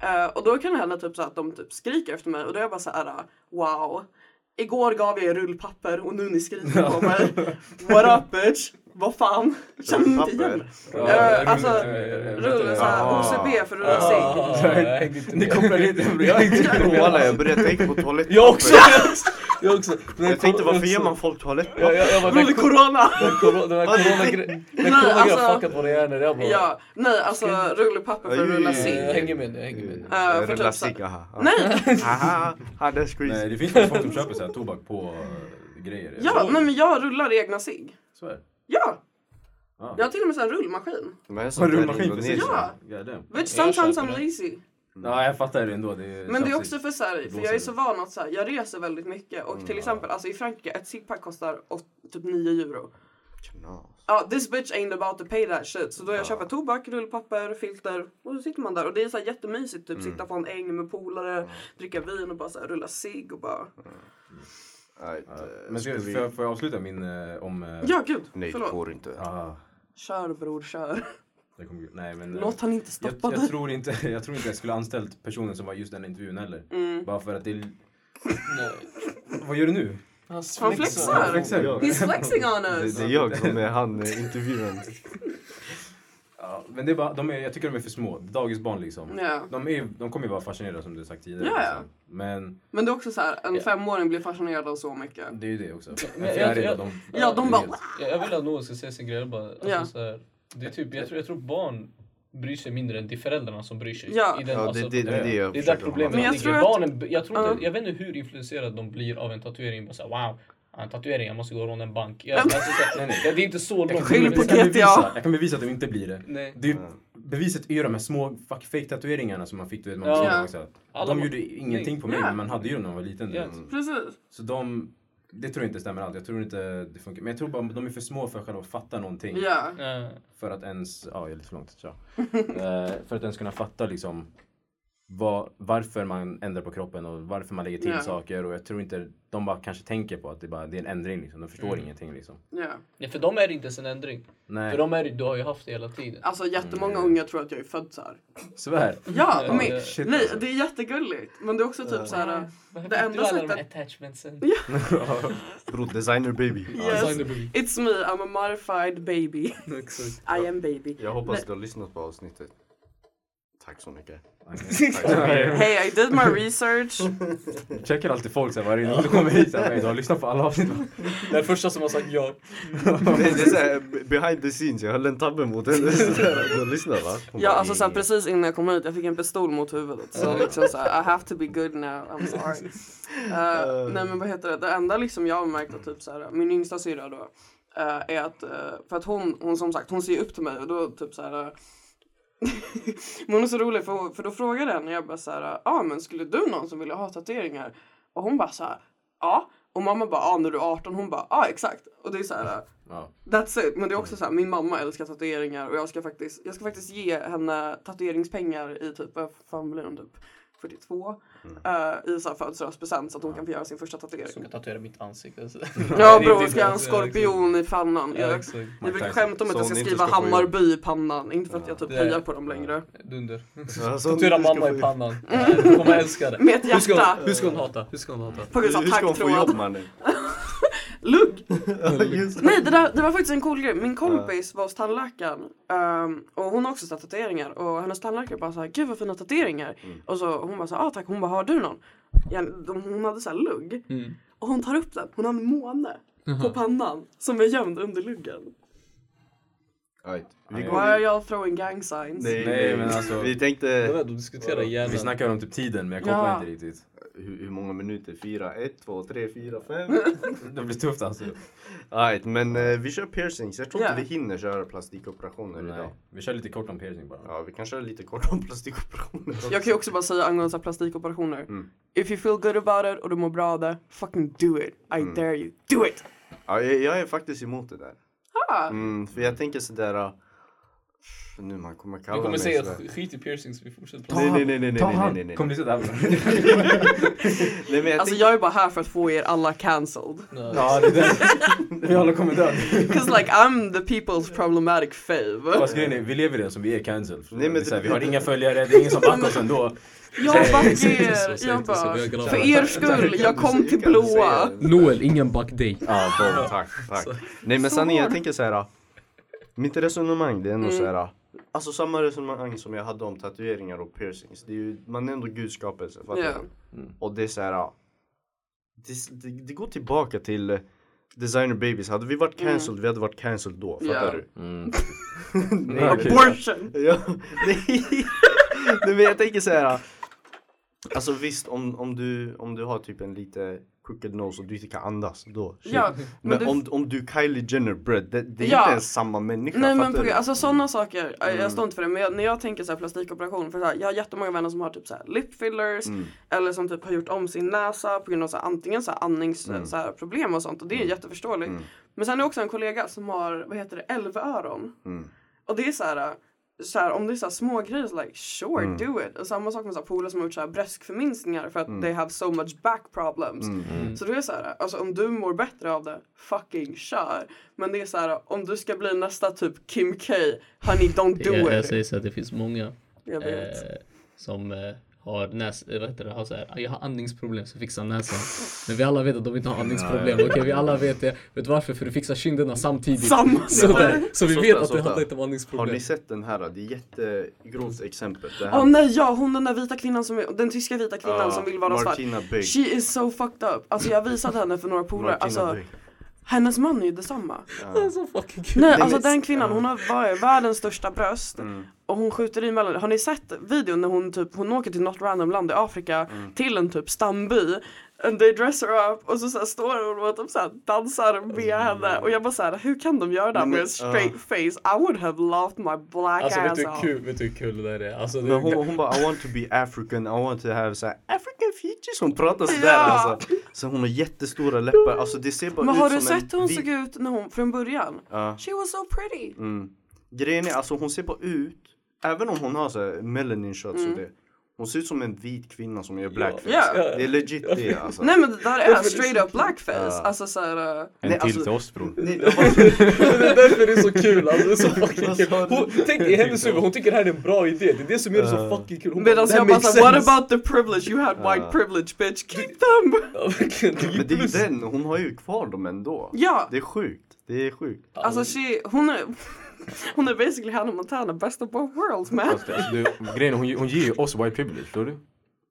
Speaker 3: Eh, och då kan det hända typ så här, att de typ skriker efter mig och då är jag bara så här, ah, wow. Igår gav jag er rullpapper och nu ni skriker på mig. What up bitch? Vad fan? Känner ni inte igen mig?
Speaker 2: Papper.
Speaker 3: Eh, alltså,
Speaker 4: rulle
Speaker 3: Rulle så här,
Speaker 2: Ah.
Speaker 3: OCB för rulla sig.
Speaker 1: Ah, jag hängde inte
Speaker 4: Ni
Speaker 1: med.
Speaker 4: kopplar inte med. Jag är inte
Speaker 2: Och alla, jag började tänka på
Speaker 1: Jag
Speaker 2: toalettpapper.
Speaker 1: också! Jag också! Jag, också. Men
Speaker 2: Jag tänkte
Speaker 1: jag
Speaker 2: varför ger
Speaker 1: också-
Speaker 2: man folk
Speaker 1: Jag,
Speaker 2: toalettpapper?
Speaker 1: jag, jag bara, den
Speaker 3: Rulle
Speaker 1: ko-
Speaker 3: corona!
Speaker 1: den corona- den här
Speaker 2: Vad-
Speaker 1: coronagrejen
Speaker 3: Nej,
Speaker 1: har
Speaker 3: alltså-
Speaker 1: fuckat våra hjärnor. Jag bara,
Speaker 3: Ja, nej alltså rullepapper för rulla
Speaker 2: Aj.
Speaker 1: jag
Speaker 3: sig.
Speaker 1: hänger med nu, jag hänger med nu.
Speaker 3: för
Speaker 2: Eh,
Speaker 3: typ
Speaker 2: Rulla
Speaker 3: så-
Speaker 2: cigg, aha. aha.
Speaker 3: Nej,
Speaker 2: Haha, ah, det är squeeze.
Speaker 4: Nej, det finns ju folk som köper så här tobak på eh, grejer.
Speaker 3: ja, nej, men jag rullar egna sig.
Speaker 4: Svär.
Speaker 3: Ja,
Speaker 4: Ja.
Speaker 3: jag har till och med så här rullmaskin.
Speaker 2: Men
Speaker 4: Har
Speaker 2: sånt
Speaker 4: du
Speaker 2: där i
Speaker 4: maskin för sig?
Speaker 2: Indonesien.
Speaker 3: Ja.
Speaker 4: Goddamn.
Speaker 3: Vet,
Speaker 1: Jag
Speaker 3: sometimes I'm
Speaker 1: köper det.
Speaker 3: lazy.
Speaker 4: Ja, jag fattar det ändå. Det är
Speaker 3: Men det är
Speaker 4: tjafsigt.
Speaker 3: också för så här, för jag är så van att så här, jag reser väldigt mycket och till exempel alltså i Frankrike ett zippack kostar åt, typ 9 euro.
Speaker 2: Knas.
Speaker 3: Ja, this bitch ain't about to pay that shit. Så då jag köper tobak, rullpapper, filter och så sitter man där och det är så här jättemysigt typ sitta på en äng med polare, dricka vin och bara så här, rulla cigg och bara.
Speaker 2: Right, eh,
Speaker 4: Men
Speaker 2: ska
Speaker 4: ska,
Speaker 2: vi-
Speaker 4: får, jag, får jag avsluta min eh, om... eh,
Speaker 3: Ja gud,
Speaker 2: Nej, det
Speaker 3: förlåt.
Speaker 2: går inte.
Speaker 4: Ah,
Speaker 3: Kör bror, kör.
Speaker 4: det kommer, nej, men, eh,
Speaker 3: Låt han inte
Speaker 4: jag,
Speaker 3: stoppa
Speaker 4: jag,
Speaker 3: dig.
Speaker 4: tror inte, jag tror inte jag skulle anställt personen som var just den intervjun heller.
Speaker 3: Mm.
Speaker 4: Bara för att det är...
Speaker 1: Nej.
Speaker 4: Vad gör du nu?
Speaker 1: Alltså,
Speaker 3: Han
Speaker 1: liksom,
Speaker 3: flexar.
Speaker 4: Flexar.
Speaker 3: He's flexing on
Speaker 2: Det,
Speaker 3: us.
Speaker 2: det är jag som är han eh, intervjuaren.
Speaker 4: Ja, men det är bara, de är, jag tycker de är för små. Dagisbarn liksom.
Speaker 3: Ja.
Speaker 4: De, är, de kommer ju vara fascinerade som du sagt tidigare.
Speaker 3: Ja, ja.
Speaker 4: liksom. Men
Speaker 3: Men det är också så här, en
Speaker 1: Ja.
Speaker 3: femåring blir fascinerad av så mycket.
Speaker 4: det är ju det också. En
Speaker 1: Men jag-
Speaker 4: fjäril,
Speaker 1: jag-
Speaker 4: de,
Speaker 3: Ja, de bara
Speaker 4: vet.
Speaker 1: Jag, jag vill att någon ska säga sin grej. Bara, alltså,
Speaker 3: Ja.
Speaker 1: så här, det är typ, jag, tror, jag tror barn bryr sig mindre än det är föräldrarna som bryr sig.
Speaker 3: Ja.
Speaker 1: I den,
Speaker 2: Ja, det,
Speaker 1: alltså,
Speaker 2: det, det, är det jag
Speaker 1: det är där
Speaker 2: försöker
Speaker 1: problemet
Speaker 2: hålla
Speaker 3: Men
Speaker 2: med.
Speaker 3: jag
Speaker 1: ligger.
Speaker 3: tror att-
Speaker 1: Barnen, jag, tror inte,
Speaker 3: Ja.
Speaker 1: jag vet inte hur influerade de blir av en tatuering. Bara så här, wow, jag har en tatuering, jag måste gå och råna en bank. Jag, alltså, så här,
Speaker 4: Nej, nej.
Speaker 1: det är inte så långt.
Speaker 3: skyller
Speaker 1: men det är
Speaker 3: på
Speaker 1: så här-
Speaker 4: kan bevisa,
Speaker 3: GTA.
Speaker 4: jag kan bevisa att de inte blir det.
Speaker 1: Nej.
Speaker 4: det är, ju- beviset är ju de här små fuck fake tatueringarna som man fick. Du vet, man
Speaker 1: Ja.
Speaker 4: ja. också.
Speaker 1: Alla
Speaker 4: De
Speaker 1: må-
Speaker 4: gjorde ingenting på mig,
Speaker 3: Ja.
Speaker 4: men man hade ju dem när man var liten.
Speaker 1: Ja.
Speaker 4: Mm.
Speaker 3: Precis.
Speaker 4: Så de, det tror jag inte stämmer alls. Jag tror inte det funkar. Men jag tror bara de är för små för att själva fatta någonting.
Speaker 3: Ja.
Speaker 1: Eh,
Speaker 4: För att ens, ja jag är lite för långt, tja. Eh, För att ens kunna fatta liksom vad, varför man ändrar på kroppen och varför man lägger till
Speaker 3: Ja.
Speaker 4: saker. Och jag tror inte, de bara kanske tänker på att det, bara, det är en ändring liksom. De förstår ingenting liksom.
Speaker 3: Ja.
Speaker 1: nej, för dem är det inte ens en ändring.
Speaker 4: Nej,
Speaker 1: Mm. För dem är det, du har ju haft det hela tiden.
Speaker 3: Alltså jättemånga unga tror att jag är född så här.
Speaker 4: svär.
Speaker 3: Ja,
Speaker 1: Ja,
Speaker 3: men,
Speaker 1: det-
Speaker 4: Mm. Shit,
Speaker 3: nej,
Speaker 4: alltså.
Speaker 3: det är jättegulligt. Men det är också typ så här.
Speaker 1: Varför
Speaker 3: det
Speaker 1: fick
Speaker 3: enda
Speaker 1: du alla de här
Speaker 3: sättet-
Speaker 1: attachmentsen?
Speaker 2: Bro, designer baby.
Speaker 3: Yes, it's me, I'm a modified baby. I am baby.
Speaker 2: Jag hoppas du har lyssnat på avsnittet. Tack så mycket.
Speaker 3: Hey, I did my research.
Speaker 4: Checkar alltid folk såhär varje gång du kommer hit. såhär, "Hej, Du har lyssnat på alla avsnitt.
Speaker 1: Den första som har sagt ja.
Speaker 2: Det är såhär behind the scenes, jag höll en tabbe mot henne. Du har lyssnat va? Hon
Speaker 3: Ja,
Speaker 2: bara,
Speaker 3: alltså så här,
Speaker 2: "Eh."
Speaker 3: precis innan jag kom hit, jag fick en pistol mot huvudet. Så liksom så här, I have to be good now, I'm sorry. Eh, nej men vad heter det, det enda liksom jag har märkt att typ så här, min yngsta syrra då, eh, är att, eh, för att hon, hon som sagt, hon ser ju upp till mig och då typ så här. eh, men hon är så rolig för, hon, för då frågade jag henne, jag bara så här, ja ah, men skulle du någon som ville ha tatueringar? Och hon bara så här, ja. Och mamma bara, ja ah, när du är 18, hon bara, ja ah, exakt. Och det är så här,
Speaker 4: Ja.
Speaker 3: That's it. Men det är
Speaker 1: Mm.
Speaker 3: också så här, min mamma älskar tatueringar och jag ska faktiskt, jag ska faktiskt ge henne tatueringspengar i typ, vad fan blir de typ? 42
Speaker 1: Mm.
Speaker 3: eh, i så här födelsedagspresent så att hon kan få göra sin första
Speaker 1: Som
Speaker 3: tatuering.
Speaker 1: kan tatuera mitt ansikte. Så.
Speaker 3: Ja
Speaker 1: Det är
Speaker 3: bror, jag
Speaker 1: riktigt
Speaker 3: ska göra en
Speaker 1: nice, ja, exakt.
Speaker 3: skorpion i pannan.
Speaker 1: Ja,
Speaker 3: Jag,
Speaker 1: exakt.
Speaker 3: jag brukar
Speaker 4: Tyson.
Speaker 3: skämta om att
Speaker 2: Så
Speaker 3: jag ska
Speaker 2: hon inte
Speaker 3: skriva
Speaker 2: ska få jobb.
Speaker 3: Hammarby i pannan. Inte för att jag typ
Speaker 1: Det-
Speaker 3: hejar på dem längre.
Speaker 1: Dunder.
Speaker 2: Alltså,
Speaker 1: Tatuera
Speaker 2: ni ska
Speaker 1: mamma
Speaker 2: få-
Speaker 1: i pannan. Hon kommer älska det.
Speaker 3: Med ett
Speaker 1: Hur ska,
Speaker 3: Mm. hjärta.
Speaker 1: hon, hur ska hon hata? Hur ska hon hata?
Speaker 3: På
Speaker 2: Hur
Speaker 3: grund av
Speaker 2: ska hon få jobb
Speaker 3: taggtråd.
Speaker 2: mannen?
Speaker 3: Lugg!
Speaker 2: Just det.
Speaker 3: Nej det, där, det var faktiskt en cool grej. Min kompis var hos tandläkaren ehm, och hon har också så här tatueringar och hennes tandläkare bara såhär gud vad fina tatueringar. Och så hon bara såhär ah tack hon bara har du någon? Ja, de, hon hade såhär lugg
Speaker 1: Mm.
Speaker 3: och hon tar upp den. Hon har en måne på pannan som är gömd under luggen.
Speaker 2: Right. Vi
Speaker 4: Ja.
Speaker 3: Why
Speaker 2: går
Speaker 3: are y'all throwing gang signs?
Speaker 2: Nej,
Speaker 4: Nej,
Speaker 2: nej,
Speaker 4: men alltså-
Speaker 2: Vi
Speaker 1: Jag
Speaker 2: tänkte
Speaker 1: vet, de diskuterar
Speaker 4: Vi
Speaker 1: hjärnan.
Speaker 4: snackar om typ tiden men jag kopplar
Speaker 3: Ja.
Speaker 4: inte riktigt.
Speaker 2: hur, hur många minuter? Fyra, ett, två, tre, fyra, fem.
Speaker 4: Det blir tufft alltså.
Speaker 2: Alright, men eh, vi kör piercings. Jag tror
Speaker 3: Ja.
Speaker 2: inte vi hinner köra plastikoperationer
Speaker 4: Nej.
Speaker 2: idag.
Speaker 4: eh, Vi kör lite kort om piercing bara.
Speaker 2: Ja, vi kan köra lite kort om plastikoperationer.
Speaker 3: Jag kan ju också bara säga angående så här plastikoperationer. If you feel good about it och du mår bra av det, fucking do it. I dare you. Do it!
Speaker 2: Ja, jag, jag är faktiskt emot det där.
Speaker 3: Ah.
Speaker 2: Mm, för jag tänker sådär... ah, Nu man kommer kalla
Speaker 1: Vi kommer
Speaker 2: mig
Speaker 1: säga
Speaker 2: sådär.
Speaker 1: sk- skit i piercings, vi fortsätter
Speaker 2: Nej, nej, nej, nej, nej,
Speaker 4: Ta
Speaker 2: nej,
Speaker 4: hand.
Speaker 2: nej, nej.
Speaker 4: Kom du sitta här
Speaker 2: Nej, men jag
Speaker 3: Alltså
Speaker 2: tänker-
Speaker 3: jag är bara här för att få er alla cancelled.
Speaker 4: Ja, det är det. Vi alla kommer dö.
Speaker 3: Cause like I'm the people's problematic fave.
Speaker 4: Fast grejen är, vi lever i den som vi är cancel.
Speaker 2: Nej, men
Speaker 4: vi, så här,
Speaker 2: det-
Speaker 4: vi har inga följare, det är ingen som backar oss ändå.
Speaker 3: Jag backar
Speaker 1: säg inte så,
Speaker 3: er,
Speaker 1: säg
Speaker 3: jag
Speaker 1: inte så,
Speaker 3: bara,
Speaker 1: vi är glada.
Speaker 3: för er
Speaker 2: Kan
Speaker 3: skull,
Speaker 2: du
Speaker 3: jag
Speaker 2: säga-
Speaker 3: kom till
Speaker 2: kan du säga
Speaker 3: blåa.
Speaker 2: det?
Speaker 5: Noel, ingen backdate.
Speaker 2: Ja, bra, tack, tack. Nej men
Speaker 3: Så
Speaker 2: sanningen,
Speaker 3: var
Speaker 2: jag
Speaker 3: det.
Speaker 2: tänker så här. Mitt resonemang det är
Speaker 3: Mm.
Speaker 2: ändå så här. Alltså samma resonemang som jag hade om tatueringar och piercings. Det är ju, man är ändå gudskapelse, fattar
Speaker 3: Ja.
Speaker 2: du? Och det är så här. Det, det, det går tillbaka till eh, designer babies. Hade vi varit cancelled, vi hade varit cancelled då, fattar
Speaker 3: Mm. Ja.
Speaker 2: du?
Speaker 4: Mm. Nej, okej.
Speaker 3: Abortion!
Speaker 2: Ja, nej. nej men jag tänker så här. Alltså visst, om, om, du, om du har typ en lite crooked nose och du inte kan andas, då shit.
Speaker 3: Ja,
Speaker 2: Men,
Speaker 3: men du-
Speaker 2: om, om du Kylie Jenner bread, det, det är
Speaker 3: Ja.
Speaker 2: inte ens samma människa.
Speaker 3: Nej men
Speaker 2: fattar
Speaker 3: på,
Speaker 2: du?
Speaker 3: alltså sådana saker, jag- jag står inte för det men jag, när jag tänker så här plastikoperation, för så här, jag har jättemånga vänner som har typ så här lip fillers eller som typ har gjort om sin näsa på grund av så här, antingen så här andnings så här, problem och sånt och det är jätteförståeligt. Men sen är det också en kollega som har, vad heter det, älvöron. Och det är så här, äh, så här om det är så här små grejer så like sure
Speaker 2: Mm.
Speaker 3: do it. Och samma sak med så här polare som har gjort så här bröstförminskningar för att
Speaker 2: Mm.
Speaker 3: they have so much back problems. Så det är så här, alltså om du mår bättre av det, fucking kör. Men det är så här, om du ska bli nästa typ Kim K, honey don't do
Speaker 5: Jag, jag
Speaker 3: it.
Speaker 5: säger så att det finns många
Speaker 3: Jag vet.
Speaker 5: eh, som eh, har näs, eh, vad heter det, har så här, jag har andningsproblem så fixa näsan. Men vi alla vet att de inte har andningsproblem. Okej, vi alla vet det. Vet du varför? För du fixar kinderna samtidigt.
Speaker 3: Samma
Speaker 5: så, där, så vi
Speaker 2: Så
Speaker 5: vet
Speaker 2: där,
Speaker 5: att
Speaker 2: så
Speaker 5: det
Speaker 2: där.
Speaker 5: handlar inte om
Speaker 2: Har ni
Speaker 5: andningsproblem.
Speaker 2: sett den här? Det är jättegrovt exempel. Det
Speaker 3: Åh
Speaker 2: här.
Speaker 3: nej ja, hon den där vita kvinnan som, är- den tyska vita kvinnan
Speaker 2: Ja,
Speaker 3: som vill vara
Speaker 2: Ah, Martina
Speaker 3: svart.
Speaker 2: Big.
Speaker 3: She is so fucked up. Alltså jag visade henne för några polare,
Speaker 2: Martina
Speaker 3: alltså
Speaker 2: Big.
Speaker 3: hennes man är ju detsamma.
Speaker 5: Så fucking
Speaker 1: Typ,
Speaker 5: kul.
Speaker 3: Nej, alltså den kvinnan, hon har var- världens största bröst och hon skjuter i mellan. Har ni sett videon när hon typ, hon åker till något random land i Afrika till en typ stamby and they dress her up och så, så här står hon och typ så här dansar med henne och jag bara såhär, hur kan de göra det här
Speaker 2: Men-
Speaker 3: med en straight face? I would have laughed my black
Speaker 1: Alltså vet
Speaker 3: ass
Speaker 1: du hur
Speaker 3: off.
Speaker 1: kul, vet du hur kul det där är? Alltså, det
Speaker 2: Men
Speaker 1: är
Speaker 2: hon, hon bara I want to be African, I want to have så här, African features. Hon pratar sådär
Speaker 3: Ja.
Speaker 2: alltså. Så hon har jättestora läppar. Alltså det ser bara
Speaker 3: Men
Speaker 2: ut
Speaker 3: har du
Speaker 2: som en
Speaker 3: sett hur hon
Speaker 2: vit-
Speaker 3: såg ut när hon, från början?
Speaker 2: Ja. mm.
Speaker 3: She was so pretty.
Speaker 2: Grejen är alltså hon ser bara ut, även om hon har så här melanin shots och det. Hon ser ut som en vit kvinna som gör blackface.
Speaker 3: Mm. Ja.
Speaker 2: Det är legit det alltså.
Speaker 3: Nej men det där är straight up blackface. Alltså såhär... Uh,
Speaker 4: En
Speaker 2: Nej,
Speaker 4: till
Speaker 2: alltså-
Speaker 4: till oss bror.
Speaker 2: Nej, jag bara-
Speaker 1: Det är därför det är så kul alltså, det är så fucking
Speaker 2: Vad
Speaker 1: kul.
Speaker 2: sa du? typ
Speaker 1: Hon, tänk i hennes huvud, hon tycker det här är en bra idé. Det är det som gör det så fucking kul. Hon
Speaker 3: Medan
Speaker 1: "That
Speaker 3: jag bara
Speaker 1: makes
Speaker 3: såhär, what
Speaker 1: sense."
Speaker 3: about the privilege? You had white privilege bitch, keep them!
Speaker 1: Ja, verkligen. Det är
Speaker 2: Men det är ju
Speaker 1: plus.
Speaker 2: den, hon har ju kvar dem ändå.
Speaker 3: Ja,
Speaker 2: Det är sjukt, det är sjukt.
Speaker 3: alltså she, hon är, hon är basically Hannah Montana, best of both worlds man.
Speaker 4: Fast, alltså, du, grejen är, hon, ge- hon ger ju oss white privilege, förstår du?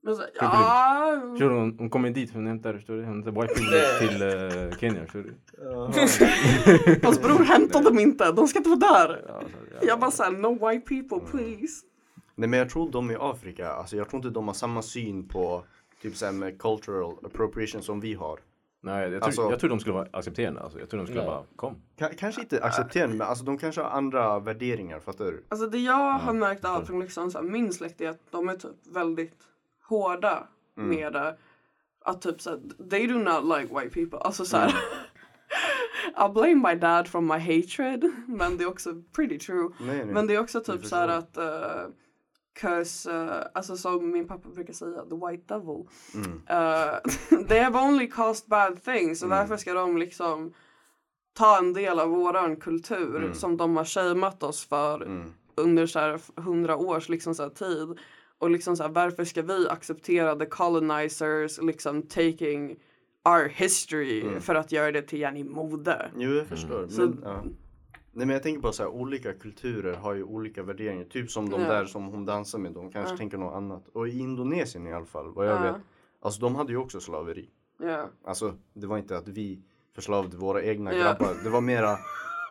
Speaker 3: Men så, ja,
Speaker 4: Förstår du? Hon, hon kommer dit, hon hämtar, förstår du? Hon hämtar white privilege till eh, Kenya, förstår du?
Speaker 3: hans bror hämtade dem inte, de ska inte vara där.
Speaker 4: Alltså, ja.
Speaker 3: Jag bara såhär, no white people please.
Speaker 2: Nej men jag tror de i Afrika, alltså jag tror inte de har samma syn på typ såhär med cultural appropriation som vi har.
Speaker 4: Nej, jag tror,
Speaker 2: Alltså-
Speaker 4: jag tror de skulle vara accepterande. Alltså. Jag tror de skulle
Speaker 1: Ja.
Speaker 4: bara, kom.
Speaker 2: Ka- kanske inte accepterande men alltså de kanske har andra värderingar, fattar du?
Speaker 3: Alltså det jag har märkt av från liksom, så här, min släkt är att de är typ väldigt hårda
Speaker 4: Mm.
Speaker 3: med det. Att typ såhär, they do not like white people. Alltså såhär.
Speaker 4: Mm.
Speaker 3: I blame my dad from my hatred. Men det är också pretty true.
Speaker 2: Nej, nej.
Speaker 3: Men det är också typ så här
Speaker 2: förstår.
Speaker 3: att eh, Cause, eh, alltså som min pappa brukar säga, the white devil. Eh, they have only caused bad things. Och varför ska de liksom ta en del av våran kultur som de har shameat oss för under så här hundra års liksom så här tid. Och liksom så här, varför ska vi acceptera the colonizers liksom taking our history för att göra det till gärna mode?
Speaker 2: Jo, jag förstår.
Speaker 3: Mm. Så-
Speaker 2: Men, ja. Nej, men jag tänker bara så här, olika kulturer har ju olika värderingar. Typ som de
Speaker 3: Ja.
Speaker 2: där som hon dansar med, de kanske tänker något annat. Och i Indonesien i alla fall, vad jag vet. Alltså de hade ju också slaveri.
Speaker 3: Ja.
Speaker 2: Alltså det var inte att vi förslavade våra egna
Speaker 3: Ja.
Speaker 2: grabbar. Det var mera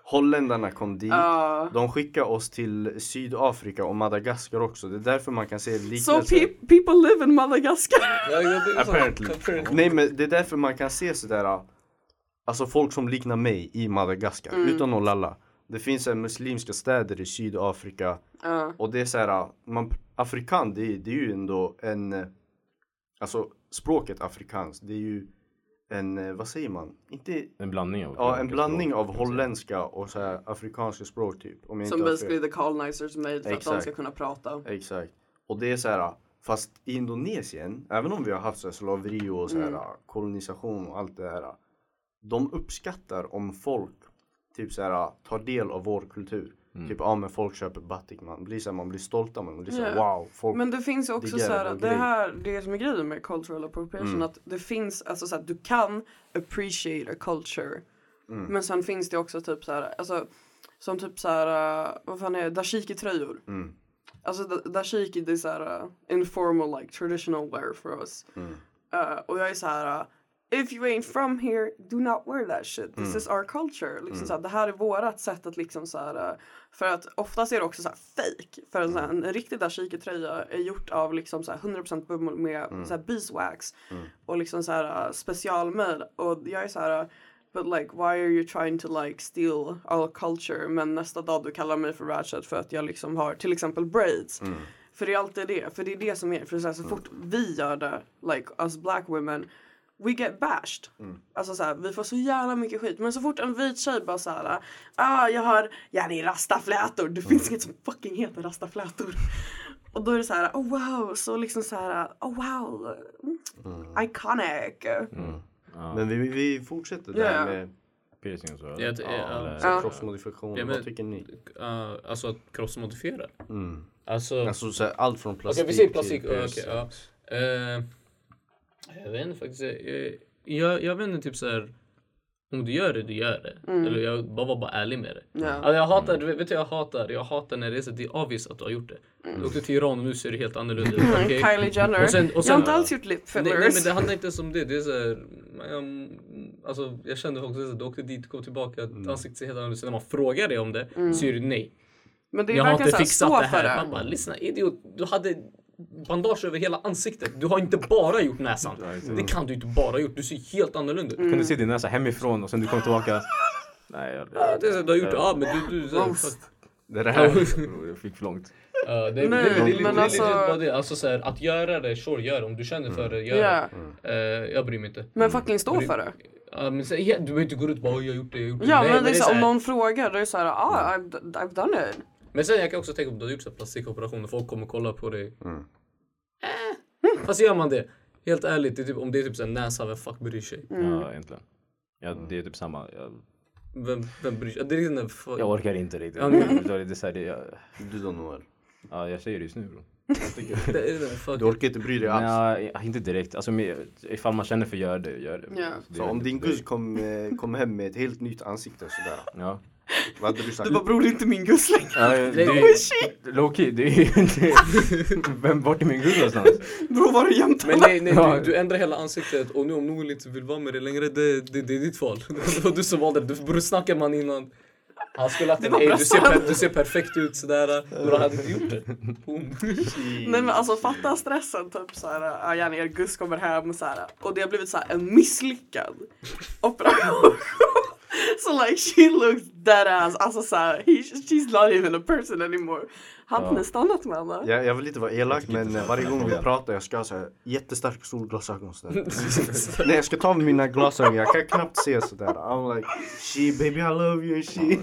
Speaker 2: holländarna kom dit.
Speaker 3: Ja. Uh,
Speaker 2: De skickade oss till Sydafrika och Madagaskar också. Det är därför man kan se
Speaker 3: So
Speaker 2: liknelser.
Speaker 3: pe people live in Madagascar.
Speaker 6: Ja, jag tycker så.
Speaker 2: Apparently.
Speaker 6: Apparently.
Speaker 2: Nej men det är därför man kan se sådär äh, Alltså folk som liknar mig i Madagaskar utan att lalla Det finns eh, muslimska städer i Sydafrika
Speaker 3: Ja.
Speaker 2: och det är såhär äh, man, Afrikan det, är- det är ju ändå en eh, Alltså språket afrikanskt det är ju en, eh, vad säger man? Inte,
Speaker 4: En blandning av
Speaker 2: ja en
Speaker 4: olika
Speaker 2: blandning
Speaker 4: språk,
Speaker 2: av
Speaker 4: kan man säga.
Speaker 2: holländska och så här afrikanska språk typ om jag
Speaker 3: Som
Speaker 2: inte har fel.
Speaker 3: basically the colonizers made för att de ska
Speaker 2: Exakt.
Speaker 3: kunna prata.
Speaker 2: Exakt. Och det är så här, äh, fast i Indonesien, även om vi har haft så här slaveri och så här, äh, kolonisation och allt det här. äh, De uppskattar om folk typ så här, tar del av vår kultur. Typ, ja men folk köper batik, man blir, så här, man blir stolta, man blir så här,
Speaker 3: Ja.
Speaker 2: wow. Folk...
Speaker 3: Men det finns ju också
Speaker 2: Det är
Speaker 3: så här,
Speaker 2: jävla Mm.
Speaker 3: det
Speaker 2: grej.
Speaker 3: här, det som är grejen med cultural appropriation, att det finns, alltså så här, du kan appreciate a culture.
Speaker 2: Mm.
Speaker 3: Men sen finns det också typ så här, alltså som typ så här, uh, vad fan är det, dashiki-tröjor.
Speaker 2: Mm.
Speaker 3: Alltså da- dashiki det är så här uh, informal like traditional wear for us.
Speaker 2: Mm.
Speaker 3: Uh, och jag är så här, uh, if you ain't from here, do not wear that shit. This is our culture. Liksom så här, det här är vårat sätt att liksom så här, uh, för att oftast är det också så här fake. För en, så här, en riktig dashiki-tröja är gjort av liksom så här 100% bomull med så här beeswax och liksom så här uh, specialmejl. Och jag är så här, uh, But like why are you trying to like steal our culture? Men nästa dag du kallar mig för ratchet för att jag liksom har till exempel braids. För det är alltid det. För det är det som är. För så, här, så fort vi gör det, like us black women, we get bashed. Alltså så här, vi får så jävla mycket skit. Men så fort en vit tjej bara så här, ah jag har, ja det är rastaflätor. Det finns inget som fucking heter rastaflätor. Och då är det så här, oh wow, så liksom så här, oh wow, iconic.
Speaker 1: Mm.
Speaker 3: Mm,
Speaker 2: Men vi, vi fortsätter
Speaker 3: Ja,
Speaker 2: där
Speaker 3: ja.
Speaker 2: med
Speaker 4: Piercing och så.
Speaker 1: Jag ty- ja.
Speaker 4: eller-
Speaker 3: Ja.
Speaker 2: kroppsmodifikation.
Speaker 1: Ja, men-
Speaker 2: Vad tycker ni?
Speaker 1: Eh, alltså att kroppsmodifiera?
Speaker 2: Mm.
Speaker 1: Alltså...
Speaker 2: Alltså så här, allt från
Speaker 1: Okej,
Speaker 2: plastik
Speaker 1: vi säger plastik. typ, Okej,
Speaker 2: piercing.
Speaker 1: ja. Eh, jag vet inte faktiskt. Eh, jag, jag vet inte typ så här. Om du gör det, du gör det. Eller jag bara var bara ärlig med det.
Speaker 3: Ja.
Speaker 1: Alltså jag hatar, du vet, vet du vad jag hatar? Jag hatar när det är så det är obvious att du har gjort det. Du åkte till Iran och nu ser det helt annorlunda ut.
Speaker 3: Mm,
Speaker 1: Okej.
Speaker 3: Kylie Jenner.
Speaker 1: Och sen- och
Speaker 3: jag har
Speaker 1: sen-
Speaker 3: inte alls gjort lip
Speaker 1: Nej,
Speaker 3: fillers.
Speaker 1: nej men det handlar inte ens om det. Det är så här, man- jag, alltså, jag kände också att du åkte dit, kom tillbaka, ansiktet ser helt annorlunda ut. Så När man frågar dig om det så är det nej.
Speaker 3: Men det är
Speaker 1: Jag har
Speaker 3: verkligen
Speaker 1: inte
Speaker 3: såhär,
Speaker 1: fixat
Speaker 3: stå
Speaker 1: det
Speaker 3: för
Speaker 1: här. liksom. Man
Speaker 3: det.
Speaker 1: bara, lyssna idiot. Du hade bandage över hela ansiktet. Du har inte bara gjort näsan. Det kan du inte bara ha gjort. Du ser helt annorlunda ut.
Speaker 2: Mm.
Speaker 4: Kunde se din näsa hemifrån och sen du kom tillbaka. Nej, jag,
Speaker 1: Ja, Det är så, du har gjort det. Ja, men du... du så,
Speaker 2: Det är det här.
Speaker 4: jag fick för långt.
Speaker 1: Ja, det, är-
Speaker 3: Nej,
Speaker 1: det, är- det, är lite-
Speaker 3: men
Speaker 1: det är
Speaker 3: alltså-
Speaker 1: lite bara det. Alltså så här, att göra det, sure gör det. Om du känner för det, gör
Speaker 3: Ja.
Speaker 1: det. Eh, jag bryr mig inte.
Speaker 3: Men fucking stå för det.
Speaker 1: Ja, men så, ja, du behöver inte gå ut och bara "Oj, jag har gjort det, jag har gjort det.
Speaker 3: Ja
Speaker 1: Nej,
Speaker 3: men
Speaker 1: det är så
Speaker 3: liksom, om
Speaker 1: här- Mm.
Speaker 3: någon frågar då är det såhär, ah I've, d- I've done it.
Speaker 1: Men sen jag kan också tänka på att du har gjort så här plastikoperationer, folk kommer kolla på dig. Äh. Fast gör man det, helt ärligt, det är typ, om det är typ så här näsa, vem fuck bryr sig?
Speaker 2: Mm.
Speaker 4: Ja, egentligen. Ja, det är typ samma. Jag,
Speaker 1: Vem, vem bryr sig? Det är liksom den fuck...
Speaker 4: jag orkar inte riktigt. Det är så här, det, jag,
Speaker 2: Du då Noel?
Speaker 4: ja, jag säger det just nu bro.
Speaker 1: Det är liksom den fuck...
Speaker 2: Du orkar inte bry dig alls.
Speaker 4: Nej, inte direkt. Alltså, men ifall man känner för att göra det, gör det.
Speaker 3: Ja.
Speaker 4: Det är
Speaker 2: Så om
Speaker 4: inte
Speaker 2: din
Speaker 4: direkt.
Speaker 2: guzz kom, eh, kom hem med ett helt nytt ansikte sådär.
Speaker 4: Ja.
Speaker 2: Vad hade du sagt?
Speaker 3: Du bara bror det är inte min guzz längre.
Speaker 4: Ja, det,
Speaker 1: Nej,
Speaker 2: Oh,
Speaker 4: är- low key, det är det- Vem, vart är min gud någonstans?
Speaker 3: Bror var du jämt
Speaker 1: Men nej, nej
Speaker 4: Ja.
Speaker 1: du, du ändrar hela ansiktet och nu om någon inte vill vara med dig längre, det, det, det är ditt val. Det var du som valde det. Du borde snacka man innan. Han skulle haft en
Speaker 3: var
Speaker 1: "Ey,
Speaker 3: bra
Speaker 1: du, ser
Speaker 3: sagt."
Speaker 1: per, du ser perfekt ut sådär. Men han hade inte gjort det. Boom.
Speaker 3: Nej men alltså fatta stressen typ såhär, ja gärna er guzz kommer hem såhär. Och det har blivit såhär en misslyckad operation. So like she looks dead ass. Alltså såhär, he, she's not even a person anymore. Har inte ni stannat med henne?
Speaker 2: Jag, jag vill inte vara elak
Speaker 4: tycker
Speaker 2: men
Speaker 4: inte så.
Speaker 2: eh, varje gång vi pratar jag ska ha så här jättestarka solglasögon så där. Nej jag ska ta av mina glasögon, jag kan knappt se sådär. I'm like she baby I love you she.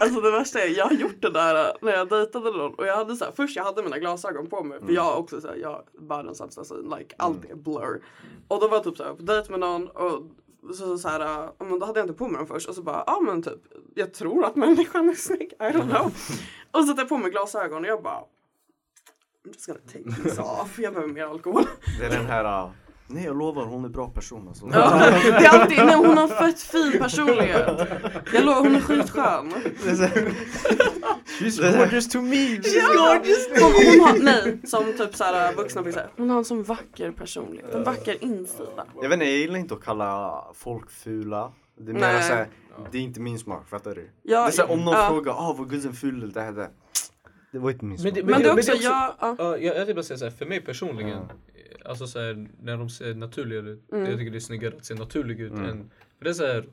Speaker 3: Alltså det värsta är, jag har gjort det där äh, när jag dejtade någon och jag hade så här, först jag hade mina glasögon på mig för jag har också så här, jag har världens sämsta syn, like allt är blur. Och då var jag typ så här på dejt med någon och så, så här, äh, ja, men då hade jag inte på mig dem först och så bara, ja ah, men typ, jag tror att människan är snygg, I don't know. och så satte jag på mig glasögon och jag bara, I'm just gonna take this off, jag behöver mer alkohol.
Speaker 2: Det är den här ah, Nej jag lovar hon är bra person alltså.
Speaker 3: Ja, det är alltid, nej, hon har en fett fin personlighet. Jag lovar, hon är skitskön.
Speaker 2: Det är så här- Det är så här-
Speaker 1: Orders to me!
Speaker 3: Ja! Hon, hon har, nej, som typ såhär vuxna fick säga. Hon har en sån vacker personlighet, en vacker insida.
Speaker 2: Jag vet inte, jag gillar inte att kalla folk fula. Det är mer
Speaker 3: Nej.
Speaker 2: såhär, det är inte min smak, fattar du?
Speaker 3: Ja,
Speaker 2: det är såhär, om någon
Speaker 3: ja.
Speaker 2: frågar ah, var gudsen ful eller det här, det här. Det var inte min smak.
Speaker 1: Men det-
Speaker 3: Men det är
Speaker 1: men
Speaker 3: också,
Speaker 1: det är också-
Speaker 3: jag, ja,
Speaker 1: Ja, jag, jag vill bara säga såhär, för mig personligen, eh, alltså såhär, när de ser naturliga ut, jag tycker det är snyggare att se naturlig ut än, för det är såhär,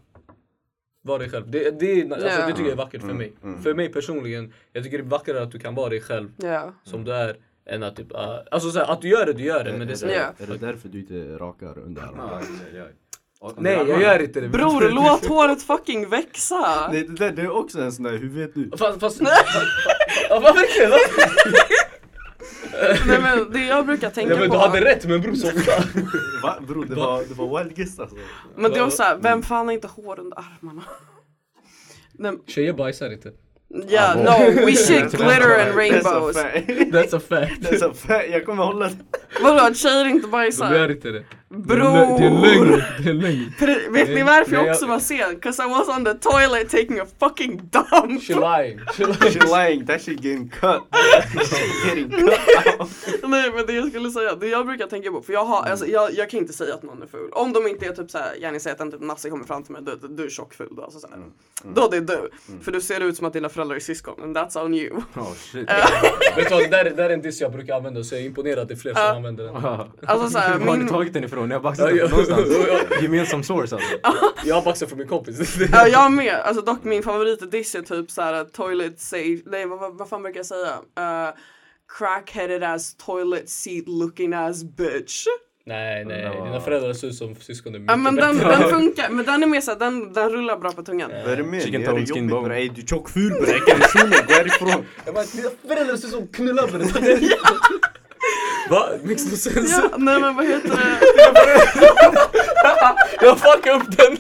Speaker 1: var dig själv. Det, det, är, alltså,
Speaker 3: Ja.
Speaker 1: det tycker jag är vackert för mig. För mig personligen, jag tycker det är vackrare att du kan vara dig själv
Speaker 3: ja.
Speaker 1: som du är än att typ, ah, alltså såhär, att du gör det, du gör
Speaker 2: Eh,
Speaker 1: det. Men det är såhär,
Speaker 3: Ja.
Speaker 7: Är det därför du inte rakar underarmarna?
Speaker 4: Ja, det gör jag. Och-
Speaker 1: nej jag gör inte det.
Speaker 3: Bror, låt håret fucking växa!
Speaker 2: Nej, det, där, det är också en sån där, hur vet du?
Speaker 1: Fast, fast, ja men verkligen!
Speaker 3: Nej men det jag brukar tänka
Speaker 1: Ja, men du
Speaker 3: på.
Speaker 1: hade rätt men bror softa.
Speaker 2: Va? Bro, det var, det var wild guess alltså.
Speaker 3: Men det är också såhär, vem fan har inte hår under armarna? Nej,
Speaker 5: Tjejer bajsar inte.
Speaker 3: yeah, no, we shit glitter and rainbows.
Speaker 2: That's a fact.
Speaker 5: That's a fact.
Speaker 2: That's a fact. Jag kommer hålla det.
Speaker 3: Vadå, att tjejer inte
Speaker 5: De gör
Speaker 3: bajsar?
Speaker 5: inte det.
Speaker 3: Bror!
Speaker 5: Det är en lögn. Det är en lögn.
Speaker 3: Pre- Vet ni
Speaker 5: Nej,
Speaker 3: varför
Speaker 5: nej,
Speaker 3: jag
Speaker 5: jag-
Speaker 3: också var sen? 'Cause I was on the toilet taking a fucking dump!
Speaker 5: She lying. She lying.
Speaker 2: She lying, that shit getting cut. That shit getting cut out.
Speaker 3: Nej men det jag skulle säga, det jag brukar tänka på, för jag har, alltså, jag, jag kan inte säga att någon är ful. Om de inte är typ såhär, gärna säger att en typ nasse kommer fram till mig, du, du är tjockful då. Alltså, såhär. Då det är du. För du ser ut som att dina föräldrar är syskon, and that's on you.
Speaker 4: Oh, shit.
Speaker 1: Vet du vad, det där, det där är en diss jag brukar använda så jag är imponerad att det är fler som använder den.
Speaker 3: Alltså såhär,
Speaker 4: Var har ni
Speaker 3: min,
Speaker 4: tagit den ifrån? Ni har baxat
Speaker 1: Ja,
Speaker 4: den
Speaker 1: ja.
Speaker 4: från någonstans. Gemensam source alltså.
Speaker 1: Jag har baxat från min kompis.
Speaker 3: ja, jag med. Alltså dock min favoritdiss är typ såhär toilet safe, nej vad, vad, vad fan brukar jag säga? Uh, crackheaded ass toilet seat looking ass bitch.
Speaker 1: Nej, nej. Dina föräldrar ser ut som syskon. är
Speaker 3: Ja
Speaker 1: mycket
Speaker 3: men
Speaker 1: bättre.
Speaker 3: den, den funkar, men den är mer såhär, den, den rullar bra på tungan.
Speaker 2: Vad är det med
Speaker 4: Chicken
Speaker 2: dig? Är det
Speaker 4: tone, skin
Speaker 2: jobbigt med
Speaker 4: bone.
Speaker 2: dig? Ey, Du är tjockful bre, jag kan inte gå härifrån.
Speaker 1: Jag bara, dina föräldrar ser ut som knullöppnare. Va? Makes no sense.
Speaker 3: Ja, nej men vad heter det?
Speaker 1: Jag fuckade upp den.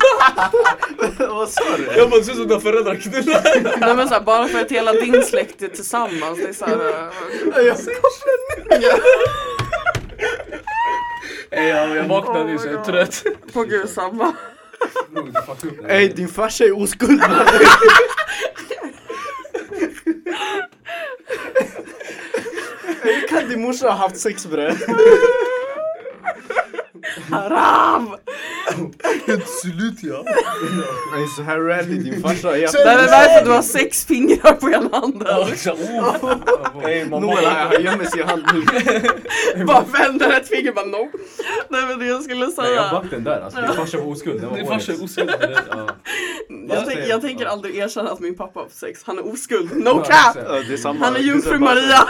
Speaker 2: Vad sa du?
Speaker 1: Jag bara, det ser ut som dina föräldrar knullar.
Speaker 3: Nej men såhär, bara för att hela din släkt är tillsammans, det är eh, såhär...
Speaker 1: Ey, Jag, jag vaknade ju så jag är trött.
Speaker 3: På gud samma.
Speaker 2: Ey din farsa är oskuld mannen. Hur kan din morsa ha haft sex bre?
Speaker 3: Haram!
Speaker 2: Absolut ja. Nej så här rally din farsa. Jag...
Speaker 3: Det är därför du har sex fingrar på ena handen.
Speaker 1: Jag sa, oh. Ey, mamma.
Speaker 2: Noel han gömmer sig i hand nu.
Speaker 3: Bara vänder ett finger bara no. Nej men det jag skulle
Speaker 4: Nej, jag
Speaker 3: säga.
Speaker 4: back den där alltså. Din farsa var oskuld. Den var
Speaker 1: Din farsa är
Speaker 4: årets.
Speaker 1: oskuld.
Speaker 4: Ja.
Speaker 3: Jag, tänk, jag tänker aldrig erkänna att min pappa har haft sex. Han är oskuld. No cap!
Speaker 2: Ja, det är samma.
Speaker 3: Han är
Speaker 2: Det
Speaker 3: jungfru
Speaker 2: samma-
Speaker 3: Maria.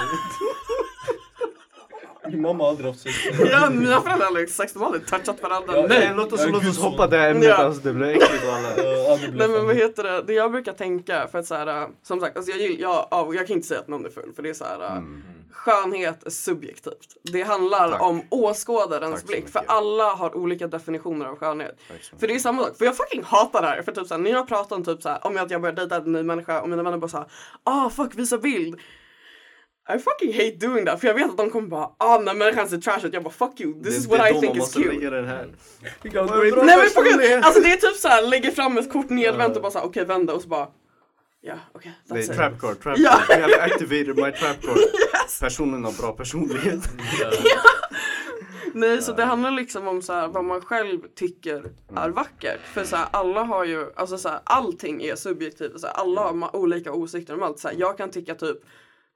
Speaker 1: Min mamma har aldrig haft sex.
Speaker 3: Ja, mina föräldrar har exakt, de har aldrig touchat varandra.
Speaker 2: Nej låt oss, låt oss hoppa det här ämnet
Speaker 3: Ja.
Speaker 2: alltså det blir äckligt alla.
Speaker 1: eh,
Speaker 3: Nej men vad heter det, det jag brukar tänka för att så här, äh, som sagt, alltså jag, gill- jag, ja, jag kan inte säga att någon är full för det är så här, äh, skönhet är subjektivt. Det handlar
Speaker 2: Tack.
Speaker 3: om åskådarens
Speaker 2: Tack så
Speaker 3: blick
Speaker 2: mycket.
Speaker 3: för alla har olika definitioner av skönhet. För det är samma sak, för jag fucking hatar det här för typ så här, när jag pratar om typ så här, om att jag börjar dejta en ny människa och mina vänner bara så här, ah fuck visa bild. I fucking hate doing that för jag vet att de kommer bara ah den här människan ser trash ut. Jag bara fuck you, this is what I think is cute. Nej men på gud, alltså det är typ såhär, lägger fram ett kort nedvänt och bara såhär okej vänd det och så bara Ja okej,
Speaker 2: Det är
Speaker 3: that's it.
Speaker 2: trap card, trap
Speaker 3: Ja.
Speaker 2: card. We have activated my trap card. Personen har bra personlighet.
Speaker 3: Nej så det handlar liksom om såhär, vad man själv tycker är vackert. För såhär, alla har ju, alltså såhär, allting är subjektivt. Såhär, alla har ma- olika åsikter om allt. Såhär, jag kan tycka typ,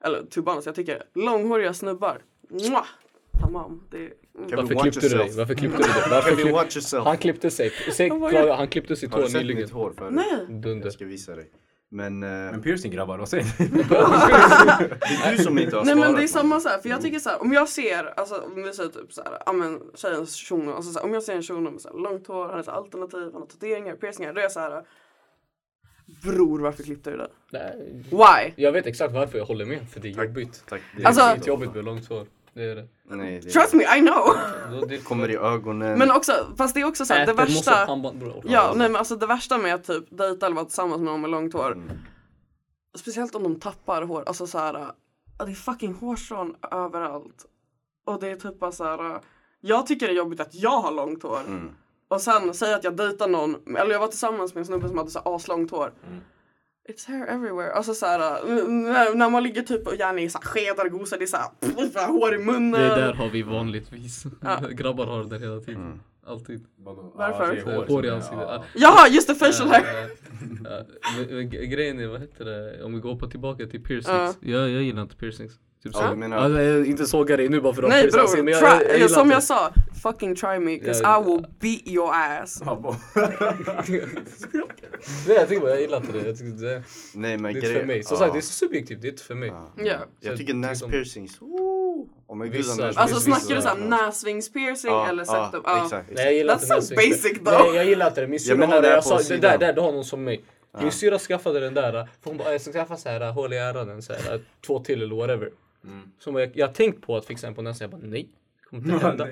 Speaker 3: eller to be honest, jag tycker långhåriga snubbar, mwah, Tamam. Det är... mm.
Speaker 2: Kan
Speaker 1: Varför
Speaker 2: vi
Speaker 3: Varför-
Speaker 2: watch
Speaker 1: klippte du dig?
Speaker 2: yourself?
Speaker 1: Varför klippte du dig? Varför
Speaker 2: Can you
Speaker 1: klipp...
Speaker 2: watch yourself?
Speaker 1: Han klippte sig. Säg,
Speaker 3: Oh my
Speaker 1: Klara, han klippte sitt
Speaker 2: Har du
Speaker 1: hår
Speaker 2: sett mitt
Speaker 1: nyligen.
Speaker 2: hår förut?
Speaker 3: Nej.
Speaker 1: Dunder.
Speaker 2: Jag ska visa dig. Men eh,
Speaker 4: Men piercing grabbar, vad säger ni?
Speaker 2: det är du som inte har
Speaker 3: Nej
Speaker 2: svarat.
Speaker 3: men det är samma så här, för jag tycker så här, om jag ser, alltså om vi säger typ så här, ja men tjejens shuno, alltså så här, om jag ser en shuno med så här, långt hår, han har ett alternativ, han har tatueringar, piercingar, då är jag så här Bror varför klippte du det?
Speaker 1: Nej,
Speaker 3: Why?
Speaker 1: Jag vet exakt varför jag håller med, för det är jobbigt.
Speaker 2: Tack. Det
Speaker 3: Alltså-
Speaker 1: Det är jobbigt med långt hår. Det är det.
Speaker 2: Nej, det
Speaker 3: Trust me, I know!
Speaker 1: Då- det- Alltså,
Speaker 2: kommer i
Speaker 1: Eh,
Speaker 2: ögonen.
Speaker 3: Men också, fast det är också så här, det
Speaker 1: Äter, måste
Speaker 3: värsta
Speaker 1: pannband, bror.
Speaker 3: Ja, nej men alltså det värsta med att typ dejta eller vara tillsammans med någon med långt hår
Speaker 1: Mm.
Speaker 3: Speciellt om de tappar hår, alltså så här ja, Det är fucking hårstrån överallt Och det är typ bara så här Jag tycker det är jobbigt att jag har långt hår
Speaker 1: Mm.
Speaker 3: Och sen säg att jag dejtar någon Eller jag var tillsammans med en snubbe som hade så här aslångt hår
Speaker 1: Mm.
Speaker 3: It's hair everywhere. Alltså så här, n- när, när man ligger typ och gärna i så här skedar och gosar, det är så här, pff, så här hår i munnen.
Speaker 1: Det där har vi vanligtvis. Grabbar har det hela tiden.
Speaker 2: Mm.
Speaker 1: Alltid.
Speaker 4: Vadå?
Speaker 3: Varför?
Speaker 4: Ja, det är
Speaker 1: Hår i
Speaker 4: som-
Speaker 1: ansiktet.
Speaker 4: ja.
Speaker 3: Jaha, just det, facial hair.
Speaker 1: Ja, men- men g- Grejen är, vad heter det, om vi går på tillbaka till piercings.
Speaker 3: Ja.
Speaker 1: Jag, jag gillar inte piercings. Typ så.
Speaker 2: Ja, du menar-
Speaker 1: Alltså, jag inte sågar dig nu bara för att
Speaker 3: Nej
Speaker 1: piercing,
Speaker 3: bror,
Speaker 1: men jag-
Speaker 3: try,
Speaker 1: jag- jag gillar
Speaker 3: som
Speaker 1: inte
Speaker 3: jag sa, fucking try me cause
Speaker 1: Ja,
Speaker 3: I will beat your ass.
Speaker 4: Ja, bo-
Speaker 1: det. Nej jag tycker bara jag gillar inte det. Jag tycker det, det
Speaker 2: Nej men
Speaker 1: är inte för
Speaker 2: grejen-
Speaker 1: mig. Som
Speaker 2: ja.
Speaker 1: sagt det är så subjektivt, det är inte för mig.
Speaker 2: Ja.
Speaker 3: Ja.
Speaker 2: Jag
Speaker 1: Så
Speaker 2: tycker
Speaker 1: det är
Speaker 2: näs
Speaker 1: som-
Speaker 2: piercings. Oh, oh my
Speaker 1: Vissa-
Speaker 2: god.
Speaker 1: Alltså,
Speaker 3: Alltså
Speaker 1: Precis,
Speaker 3: snackar du
Speaker 1: precis.
Speaker 3: såhär näsvingspiercing eller septum? Ja.
Speaker 2: exakt.
Speaker 1: Nej jag gillar
Speaker 3: That's
Speaker 1: inte
Speaker 3: so
Speaker 1: den här
Speaker 3: basic
Speaker 1: svinsen.
Speaker 3: though.
Speaker 1: Nej jag gillar inte det. Min syrra
Speaker 2: menar
Speaker 1: har det.
Speaker 2: det
Speaker 1: Jag
Speaker 2: på
Speaker 1: sa det där,
Speaker 2: sidan.
Speaker 1: där, du har någon som mig. Min syrra skaffade den där. För hon bara jag ska skaffa så här hål i öronen, så här, två till eller whatever. Som jag, jag har tänkt på att fixa en på näsan. Jag bara nej. det Kommer inte hända.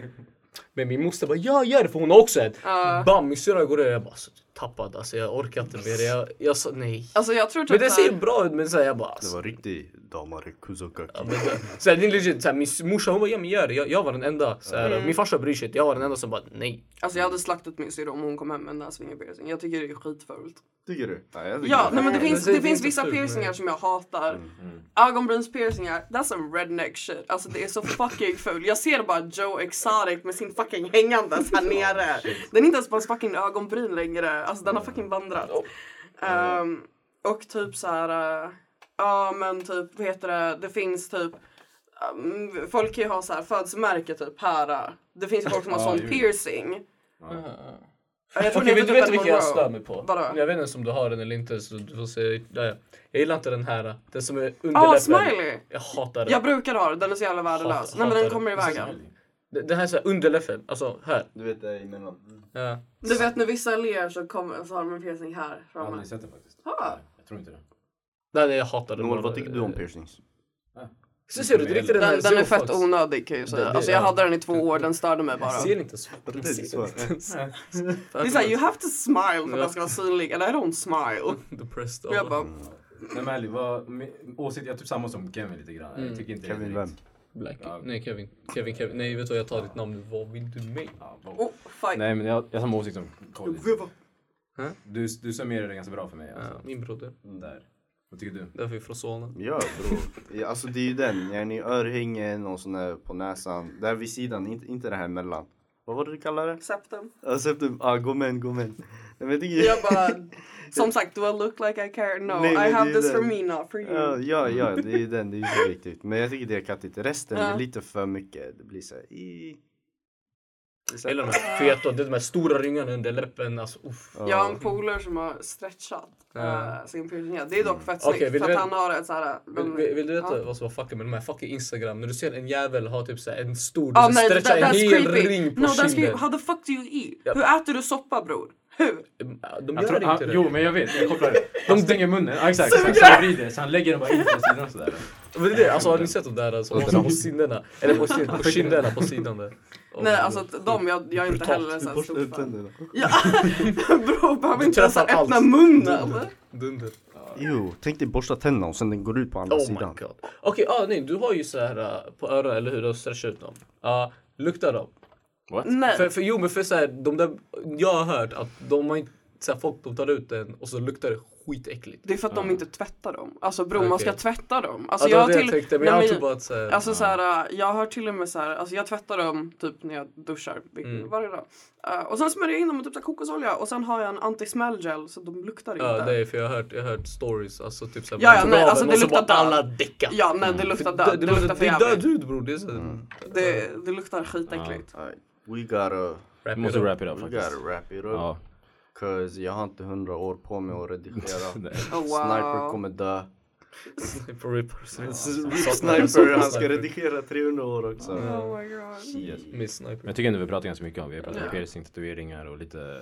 Speaker 1: Men min moster bara ja gör det för hon har också en.
Speaker 3: Ja.
Speaker 1: Bam min syrra går över. Jag bara alltså, tappad alltså jag orkar inte mer. Jag, jag sa nej.
Speaker 3: Alltså jag tror
Speaker 1: Men
Speaker 3: typ
Speaker 1: det ser
Speaker 3: såhär,
Speaker 1: bra ut men så här, jag bara alltså.
Speaker 2: Det var riktig damare kuzokaki.
Speaker 1: Så här, det är legit, så här, min morsa hon bara ja men gör det. Jag, jag var den enda. Så
Speaker 3: Mm.
Speaker 1: här, Min farsa bryr sig inte. Jag var den enda som bara nej.
Speaker 3: alltså jag hade slaktat min syrra om hon kom hem med en näsvingspiercing. Jag tycker det är skitfult.
Speaker 2: Tycker du? Nej, jag tycker
Speaker 3: Ja,
Speaker 2: det.
Speaker 3: nej men det
Speaker 1: Nej,
Speaker 3: finns,
Speaker 1: det- det
Speaker 3: det
Speaker 1: är
Speaker 3: finns
Speaker 1: inte
Speaker 3: vissa
Speaker 1: fult,
Speaker 3: piercingar
Speaker 1: nej.
Speaker 3: som jag hatar. Ögonbrynspiercingar, that's some redneck shit. Alltså det är så fucking ful. Jag ser bara Joe Exotic med sin fucking hängandes här nere. Den är inte ens på hans fucking ögonbryn längre. Alltså den har fucking vandrat. Ehm, och typ så här. eh, ja men typ vad heter det, det finns typ um, folk kan ju ha så här födelsemärke typ här. eh. Det finns ju folk som har
Speaker 4: Ja,
Speaker 3: sån
Speaker 4: ju.
Speaker 3: piercing. Ja, Jag tror
Speaker 1: Okej,
Speaker 3: det
Speaker 1: vet
Speaker 3: heter
Speaker 1: du
Speaker 3: typ
Speaker 1: vet
Speaker 3: en
Speaker 1: vilken jag
Speaker 3: Monroe.
Speaker 1: stör mig på?
Speaker 3: Vadå?
Speaker 1: Jag vet inte ens om du har den eller inte. Så du får se. Nej, jag gillar inte den här. Den som är under
Speaker 3: Ah,
Speaker 1: läppen.
Speaker 3: smiley!
Speaker 1: Jag hatar den.
Speaker 3: Jag brukar ha den, den är så jävla
Speaker 1: Hatar-
Speaker 3: värdelös. Nej men
Speaker 1: hatar
Speaker 3: den kommer i
Speaker 1: den.
Speaker 3: vägen.
Speaker 1: Den- Den här är såhär under läppen. Alltså här.
Speaker 2: Du vet det emellan.
Speaker 1: Ja.
Speaker 3: Du vet när vissa ler så, kommer, så har de en piercing här
Speaker 4: Jag har
Speaker 3: framme.
Speaker 4: aldrig sett det faktiskt.
Speaker 3: Ah.
Speaker 4: Jag tror inte det.
Speaker 1: Nej, nej jag hatar den.
Speaker 2: Noel,
Speaker 1: bara.
Speaker 2: vad tycker du om piercings?
Speaker 1: Så ser du, det är riktigt den här
Speaker 3: Den, den är
Speaker 1: Zero
Speaker 3: fett
Speaker 1: Fox.
Speaker 3: onödig kan jag ju säga.
Speaker 1: Det- det-
Speaker 3: Alltså jag
Speaker 1: ja.
Speaker 3: hade den i två år, den störde mig bara.
Speaker 1: Ser inte så. Den
Speaker 2: Det är
Speaker 1: ser
Speaker 2: så.
Speaker 1: inte ens.
Speaker 3: Det är såhär, you have to smile för att den ska vara synlig. And I don't smile.
Speaker 1: Depressed.
Speaker 3: Och jag bara,
Speaker 4: Nej men ärligt, vad, min åsikt, jag är typ samma som Kevin lite grann.
Speaker 1: Mm.
Speaker 4: Jag tycker inte det är
Speaker 2: Kevin vem?
Speaker 4: riktigt-
Speaker 1: Black. Nej Kevin. Kevin, Kevin. Nej vet du vad, jag tar ditt namn nu. Vad vill du mig?
Speaker 4: Ja, vad-
Speaker 3: oh fight.
Speaker 4: Nej men jag, jag har samma åsikt som Colin.
Speaker 1: Hä?
Speaker 4: Du, du summerar det ganska bra för mig. Alltså.
Speaker 1: Ja, min broder.
Speaker 4: Där. Vad tycker du?
Speaker 1: Därför är vi från Solna.
Speaker 2: Ja bror. Ja, Alltså det är ju den. Jag är i örhängen och sån där på näsan. Där vid sidan, inte, inte det här mellan. Vad var det du kallade det?
Speaker 3: Septum.
Speaker 2: Jag sett du, ah gå men, gå men. Nej men jag tycker...
Speaker 3: Jag bara, som sagt, do I look like I care? No,
Speaker 2: Nej, men
Speaker 3: I have
Speaker 2: det är
Speaker 3: this for
Speaker 2: den.
Speaker 3: me not for
Speaker 2: Ja,
Speaker 3: you.
Speaker 2: ja, ja, det är ju den, det är ju så viktigt. Men jag tycker det är kattigt. Resten
Speaker 3: Ja.
Speaker 2: är lite för mycket. Det blir så här, i... Det är så här-
Speaker 1: Eller de här feta, det är de här stora ringarna under läppen. Alltså uff.
Speaker 3: Jag har en polare som har stretchat
Speaker 1: Ja.
Speaker 3: eh, sin piercing. här. Det är dock fett
Speaker 1: Okej,
Speaker 3: snyggt
Speaker 1: vill
Speaker 3: för
Speaker 1: du
Speaker 3: att
Speaker 1: veta-
Speaker 3: han har ett såhär...
Speaker 1: Vill, vill, vill du veta
Speaker 3: Ja.
Speaker 1: vad som var fucking med de här fucking instagram? När du ser en jävel ha typ såhär en stor,
Speaker 3: Ja
Speaker 1: du
Speaker 3: Ah, nej,
Speaker 1: ser
Speaker 3: that,
Speaker 1: stretcha en
Speaker 3: that's
Speaker 1: hel
Speaker 3: creepy.
Speaker 1: ring på
Speaker 3: no, that's creepy.
Speaker 1: kinden.
Speaker 3: How the fuck do you eat?
Speaker 1: Ja.
Speaker 3: Hur äter du soppa bror? Hur?
Speaker 1: De gör
Speaker 4: han,
Speaker 1: inte det.
Speaker 4: ah, Jo men jag vet, jag kopplar det. Han stänger munnen, ja, exakt. Så han vrider, så han lägger den bara in på sidan sådär.
Speaker 1: Men det är det, alltså har ni sett de där som har så här på sinnena? Eller på, sin, på kinderna på sidan där. Oh,
Speaker 3: Nej alltså att de, jag, jag är inte
Speaker 1: Brutalt.
Speaker 3: heller såhär
Speaker 2: Borsta
Speaker 3: stor
Speaker 2: ut
Speaker 3: fan.
Speaker 2: tänderna.
Speaker 3: Ja, bror behöver
Speaker 1: Du
Speaker 3: inte ens
Speaker 1: träffar
Speaker 3: öppna
Speaker 1: allt. Mm.
Speaker 3: munnen.
Speaker 1: Dunder.
Speaker 2: Jo, tänk dig borsta tänderna och sen den går ut på andra
Speaker 1: Oh my
Speaker 2: sidan.
Speaker 1: god. Okej, ah, nej du har ju så här äh, på öronen, eller hur? Du stretchar ut dem. Uh, luktar dem? För,
Speaker 3: Nej.
Speaker 1: för, jo men för så här, de där, jag har hört att de har inte, så här, folk de tar ut den och så luktar det
Speaker 8: skitäckligt.
Speaker 3: Det är för att de inte tvättar dem. Alltså bror, man
Speaker 1: Okej.
Speaker 3: ska tvätta dem. Alltså,
Speaker 1: Ja, det var
Speaker 3: jag,
Speaker 1: det
Speaker 3: har
Speaker 1: jag
Speaker 3: till...
Speaker 1: tänkte, men
Speaker 3: Nej,
Speaker 1: jag
Speaker 3: men-
Speaker 1: tror bara att så här,
Speaker 3: Alltså så här, jag har till och med så här, alltså jag tvättar dem typ när jag duschar vilket-
Speaker 1: Mm.
Speaker 3: varje dag. Eh, och sen smörjer jag in dem med typ så här kokosolja och sen har jag en anti-smell gel så de luktar
Speaker 1: Ja,
Speaker 3: inte.
Speaker 1: det är för jag har hört, jag har hört stories, alltså typ såhär
Speaker 3: Ja, ja, nej, alltså, det luktar
Speaker 1: bara
Speaker 3: död.
Speaker 1: alla däcka.
Speaker 3: Ja, nej det luktar
Speaker 1: Mm. Det, det,
Speaker 3: död. Det
Speaker 1: luktar-
Speaker 3: luktar för
Speaker 1: det är död
Speaker 3: jävligt.
Speaker 1: hud bror, det är såhär...
Speaker 2: Mm.
Speaker 3: Det, det luktar skitäckligt.
Speaker 2: Alright, We gotta,
Speaker 1: Wrap it
Speaker 4: Måste
Speaker 1: up.
Speaker 4: wrap it up
Speaker 2: we
Speaker 4: faktiskt.
Speaker 2: gotta wrap it up.
Speaker 4: Ja.
Speaker 2: Cause jag har inte hundra år på mig att redigera.
Speaker 3: Oh, wow.
Speaker 2: Sniper kommer dö.
Speaker 1: For rippers.
Speaker 2: Sniper, han ska redigera 300 år också.
Speaker 3: Oh my god.
Speaker 1: Miss sniper.
Speaker 4: Men jag tycker ändå vi pratar ganska mycket om. Vi har pratat om piercing, tatueringar och lite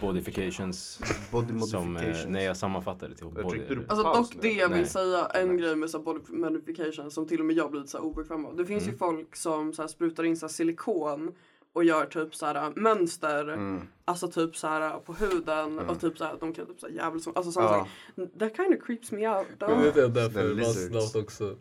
Speaker 4: bodifications.
Speaker 2: Body
Speaker 4: Som,
Speaker 2: modifications.
Speaker 4: eh, när jag sammanfattar det till
Speaker 2: Jag
Speaker 4: body.
Speaker 2: tryckte du på
Speaker 3: Alltså
Speaker 2: paus
Speaker 3: dock
Speaker 2: nu?
Speaker 3: det jag vill
Speaker 4: Nej.
Speaker 3: säga, en grej med så här body modification som till och med jag blir så här obekväm av. Det finns ju folk som så här sprutar in så här silikon och gör typ så här mönster,
Speaker 2: Mm.
Speaker 3: alltså typ så här på huden och typ så här, de kan typ så här jävligt som, alltså sådana
Speaker 2: Ja.
Speaker 3: saker. That kind of creeps me out. Då.
Speaker 1: Det vet jag därför
Speaker 2: The
Speaker 1: man
Speaker 2: lizards.
Speaker 1: snabbt också.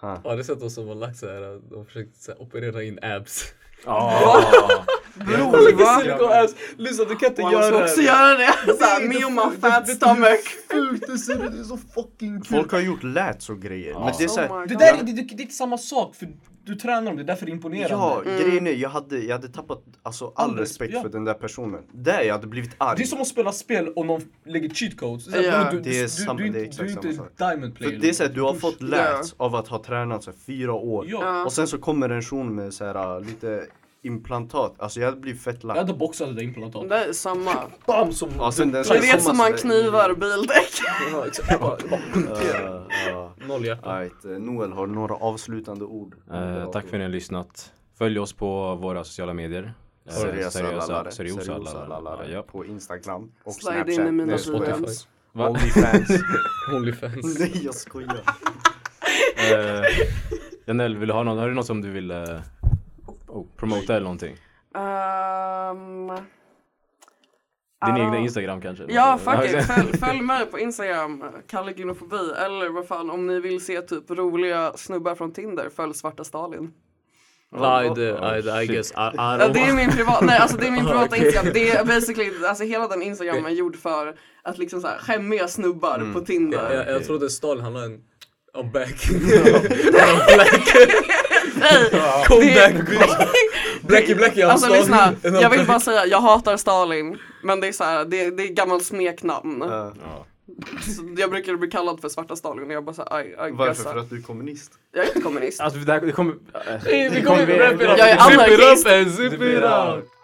Speaker 2: Ha.
Speaker 1: Har du sett de som har lagt såhär, de har försökt så här, operera in abs?
Speaker 4: Ja!
Speaker 3: Bror va?
Speaker 1: Silikonabs! Lyssna du kan inte
Speaker 3: Och alla
Speaker 1: göra
Speaker 3: ska
Speaker 1: det
Speaker 3: alltså, också
Speaker 1: här.
Speaker 3: göra det! Såhär me on my fat stomach.
Speaker 1: Sjukt, det ser ut, det är så fucking kul!
Speaker 2: Folk har gjort lats och grejer. Men det är så
Speaker 3: Oh
Speaker 2: här,
Speaker 3: my
Speaker 1: Det
Speaker 3: God.
Speaker 1: där är- det, det, det är inte samma sak för du tränar dem, det är därför det är imponerande.
Speaker 2: Ja,
Speaker 3: Mm.
Speaker 2: grejen är jag hade, jag hade tappat alltså, all
Speaker 1: All
Speaker 2: respekt
Speaker 1: respekt, ja.
Speaker 2: för den där personen. Där jag hade blivit arg.
Speaker 1: Det är som att spela spel och någon lägger cheat codes. Det är,
Speaker 3: Ja,
Speaker 1: såhär, bro, du,
Speaker 2: det är
Speaker 1: du,
Speaker 2: samma-
Speaker 1: du,
Speaker 2: det är
Speaker 1: du,
Speaker 2: exakt
Speaker 1: du är inte
Speaker 2: samma sak.
Speaker 1: diamond
Speaker 2: För
Speaker 1: player. liksom.
Speaker 2: det är såhär, du har fått
Speaker 3: Ja.
Speaker 2: lats av att ha tränat så här, fyra år.
Speaker 1: Ja.
Speaker 3: Ja.
Speaker 2: Och sen så kommer en person med så här, äh, lite implantat. Alltså jag hade blivit fett
Speaker 1: Jag
Speaker 2: lack.
Speaker 1: hade boxat det där implantatet.
Speaker 3: Det är samma.
Speaker 1: Bam som...
Speaker 2: Ja, sen den
Speaker 3: Du
Speaker 2: ska
Speaker 3: vet
Speaker 2: komma
Speaker 3: som man
Speaker 2: så där-
Speaker 3: knivar bildäck.
Speaker 1: Ja, exakt. Bara- bara punktera.
Speaker 2: Ja, ja.
Speaker 1: Noll hjärta.
Speaker 2: Alright, eh, äh, Noel har några avslutande ord.
Speaker 4: Eh, tack för att ni har lyssnat. Följ oss på våra sociala medier. Eh,
Speaker 2: Seriösa lallare.
Speaker 4: Seriösa lallare. Ja,
Speaker 2: lallare. På Instagram och Snapchat.
Speaker 3: Slide in i mina
Speaker 2: Nej,
Speaker 3: Spotify.
Speaker 2: Onlyfans.
Speaker 4: Va?
Speaker 2: Onlyfans.
Speaker 1: Onlyfans.
Speaker 2: Nej jag skojar.
Speaker 4: Eh, Janelle, vill du ha någon? Har du något som du vill eh, oh, promota eller någonting?
Speaker 3: Ehm,
Speaker 4: Din
Speaker 3: Ah.
Speaker 4: egna Instagram kanske?
Speaker 3: Ja, fuck it. Följ, följ mig på Instagram, Kalle Gynofobi. Eller vad fan, om ni vill se typ roliga snubbar från Tinder, följ Svarta Stalin.
Speaker 1: Nej, det- nej, det- I guess I, I
Speaker 3: Ja, det är
Speaker 1: don't...
Speaker 3: min privata, nej alltså det är
Speaker 2: Ah,
Speaker 3: min privata
Speaker 1: Okej.
Speaker 3: Instagram. Det är basically, alltså hela den Instagram är gjord för att liksom så här skämmiga snubbar
Speaker 2: Mm.
Speaker 3: på Tinder.
Speaker 1: Jag, jag trodde Stalin handlade om... I'm back.
Speaker 3: Nej,
Speaker 1: Come
Speaker 3: det-
Speaker 1: back bitch. Blackie blackie I'm
Speaker 3: Alltså
Speaker 1: Stalin.
Speaker 3: lyssna,
Speaker 1: And I'm
Speaker 3: jag vill
Speaker 1: back.
Speaker 3: bara säga, jag hatar Stalin. Men det är så här, det, det är gammalt smeknamn.
Speaker 2: Ja.
Speaker 3: Så jag brukar bli kallad för Svarta Stalin och jag bara såhär, I, I
Speaker 2: Varför?
Speaker 3: guess
Speaker 2: För
Speaker 3: that.
Speaker 2: att du är kommunist?
Speaker 3: Jag är inte kommunist.
Speaker 4: Alltså, det, här, det kommer... eh,
Speaker 1: Vi kommer wrap it up.
Speaker 3: Jag är
Speaker 1: Zip it
Speaker 3: anarkist.
Speaker 1: up and zip it up.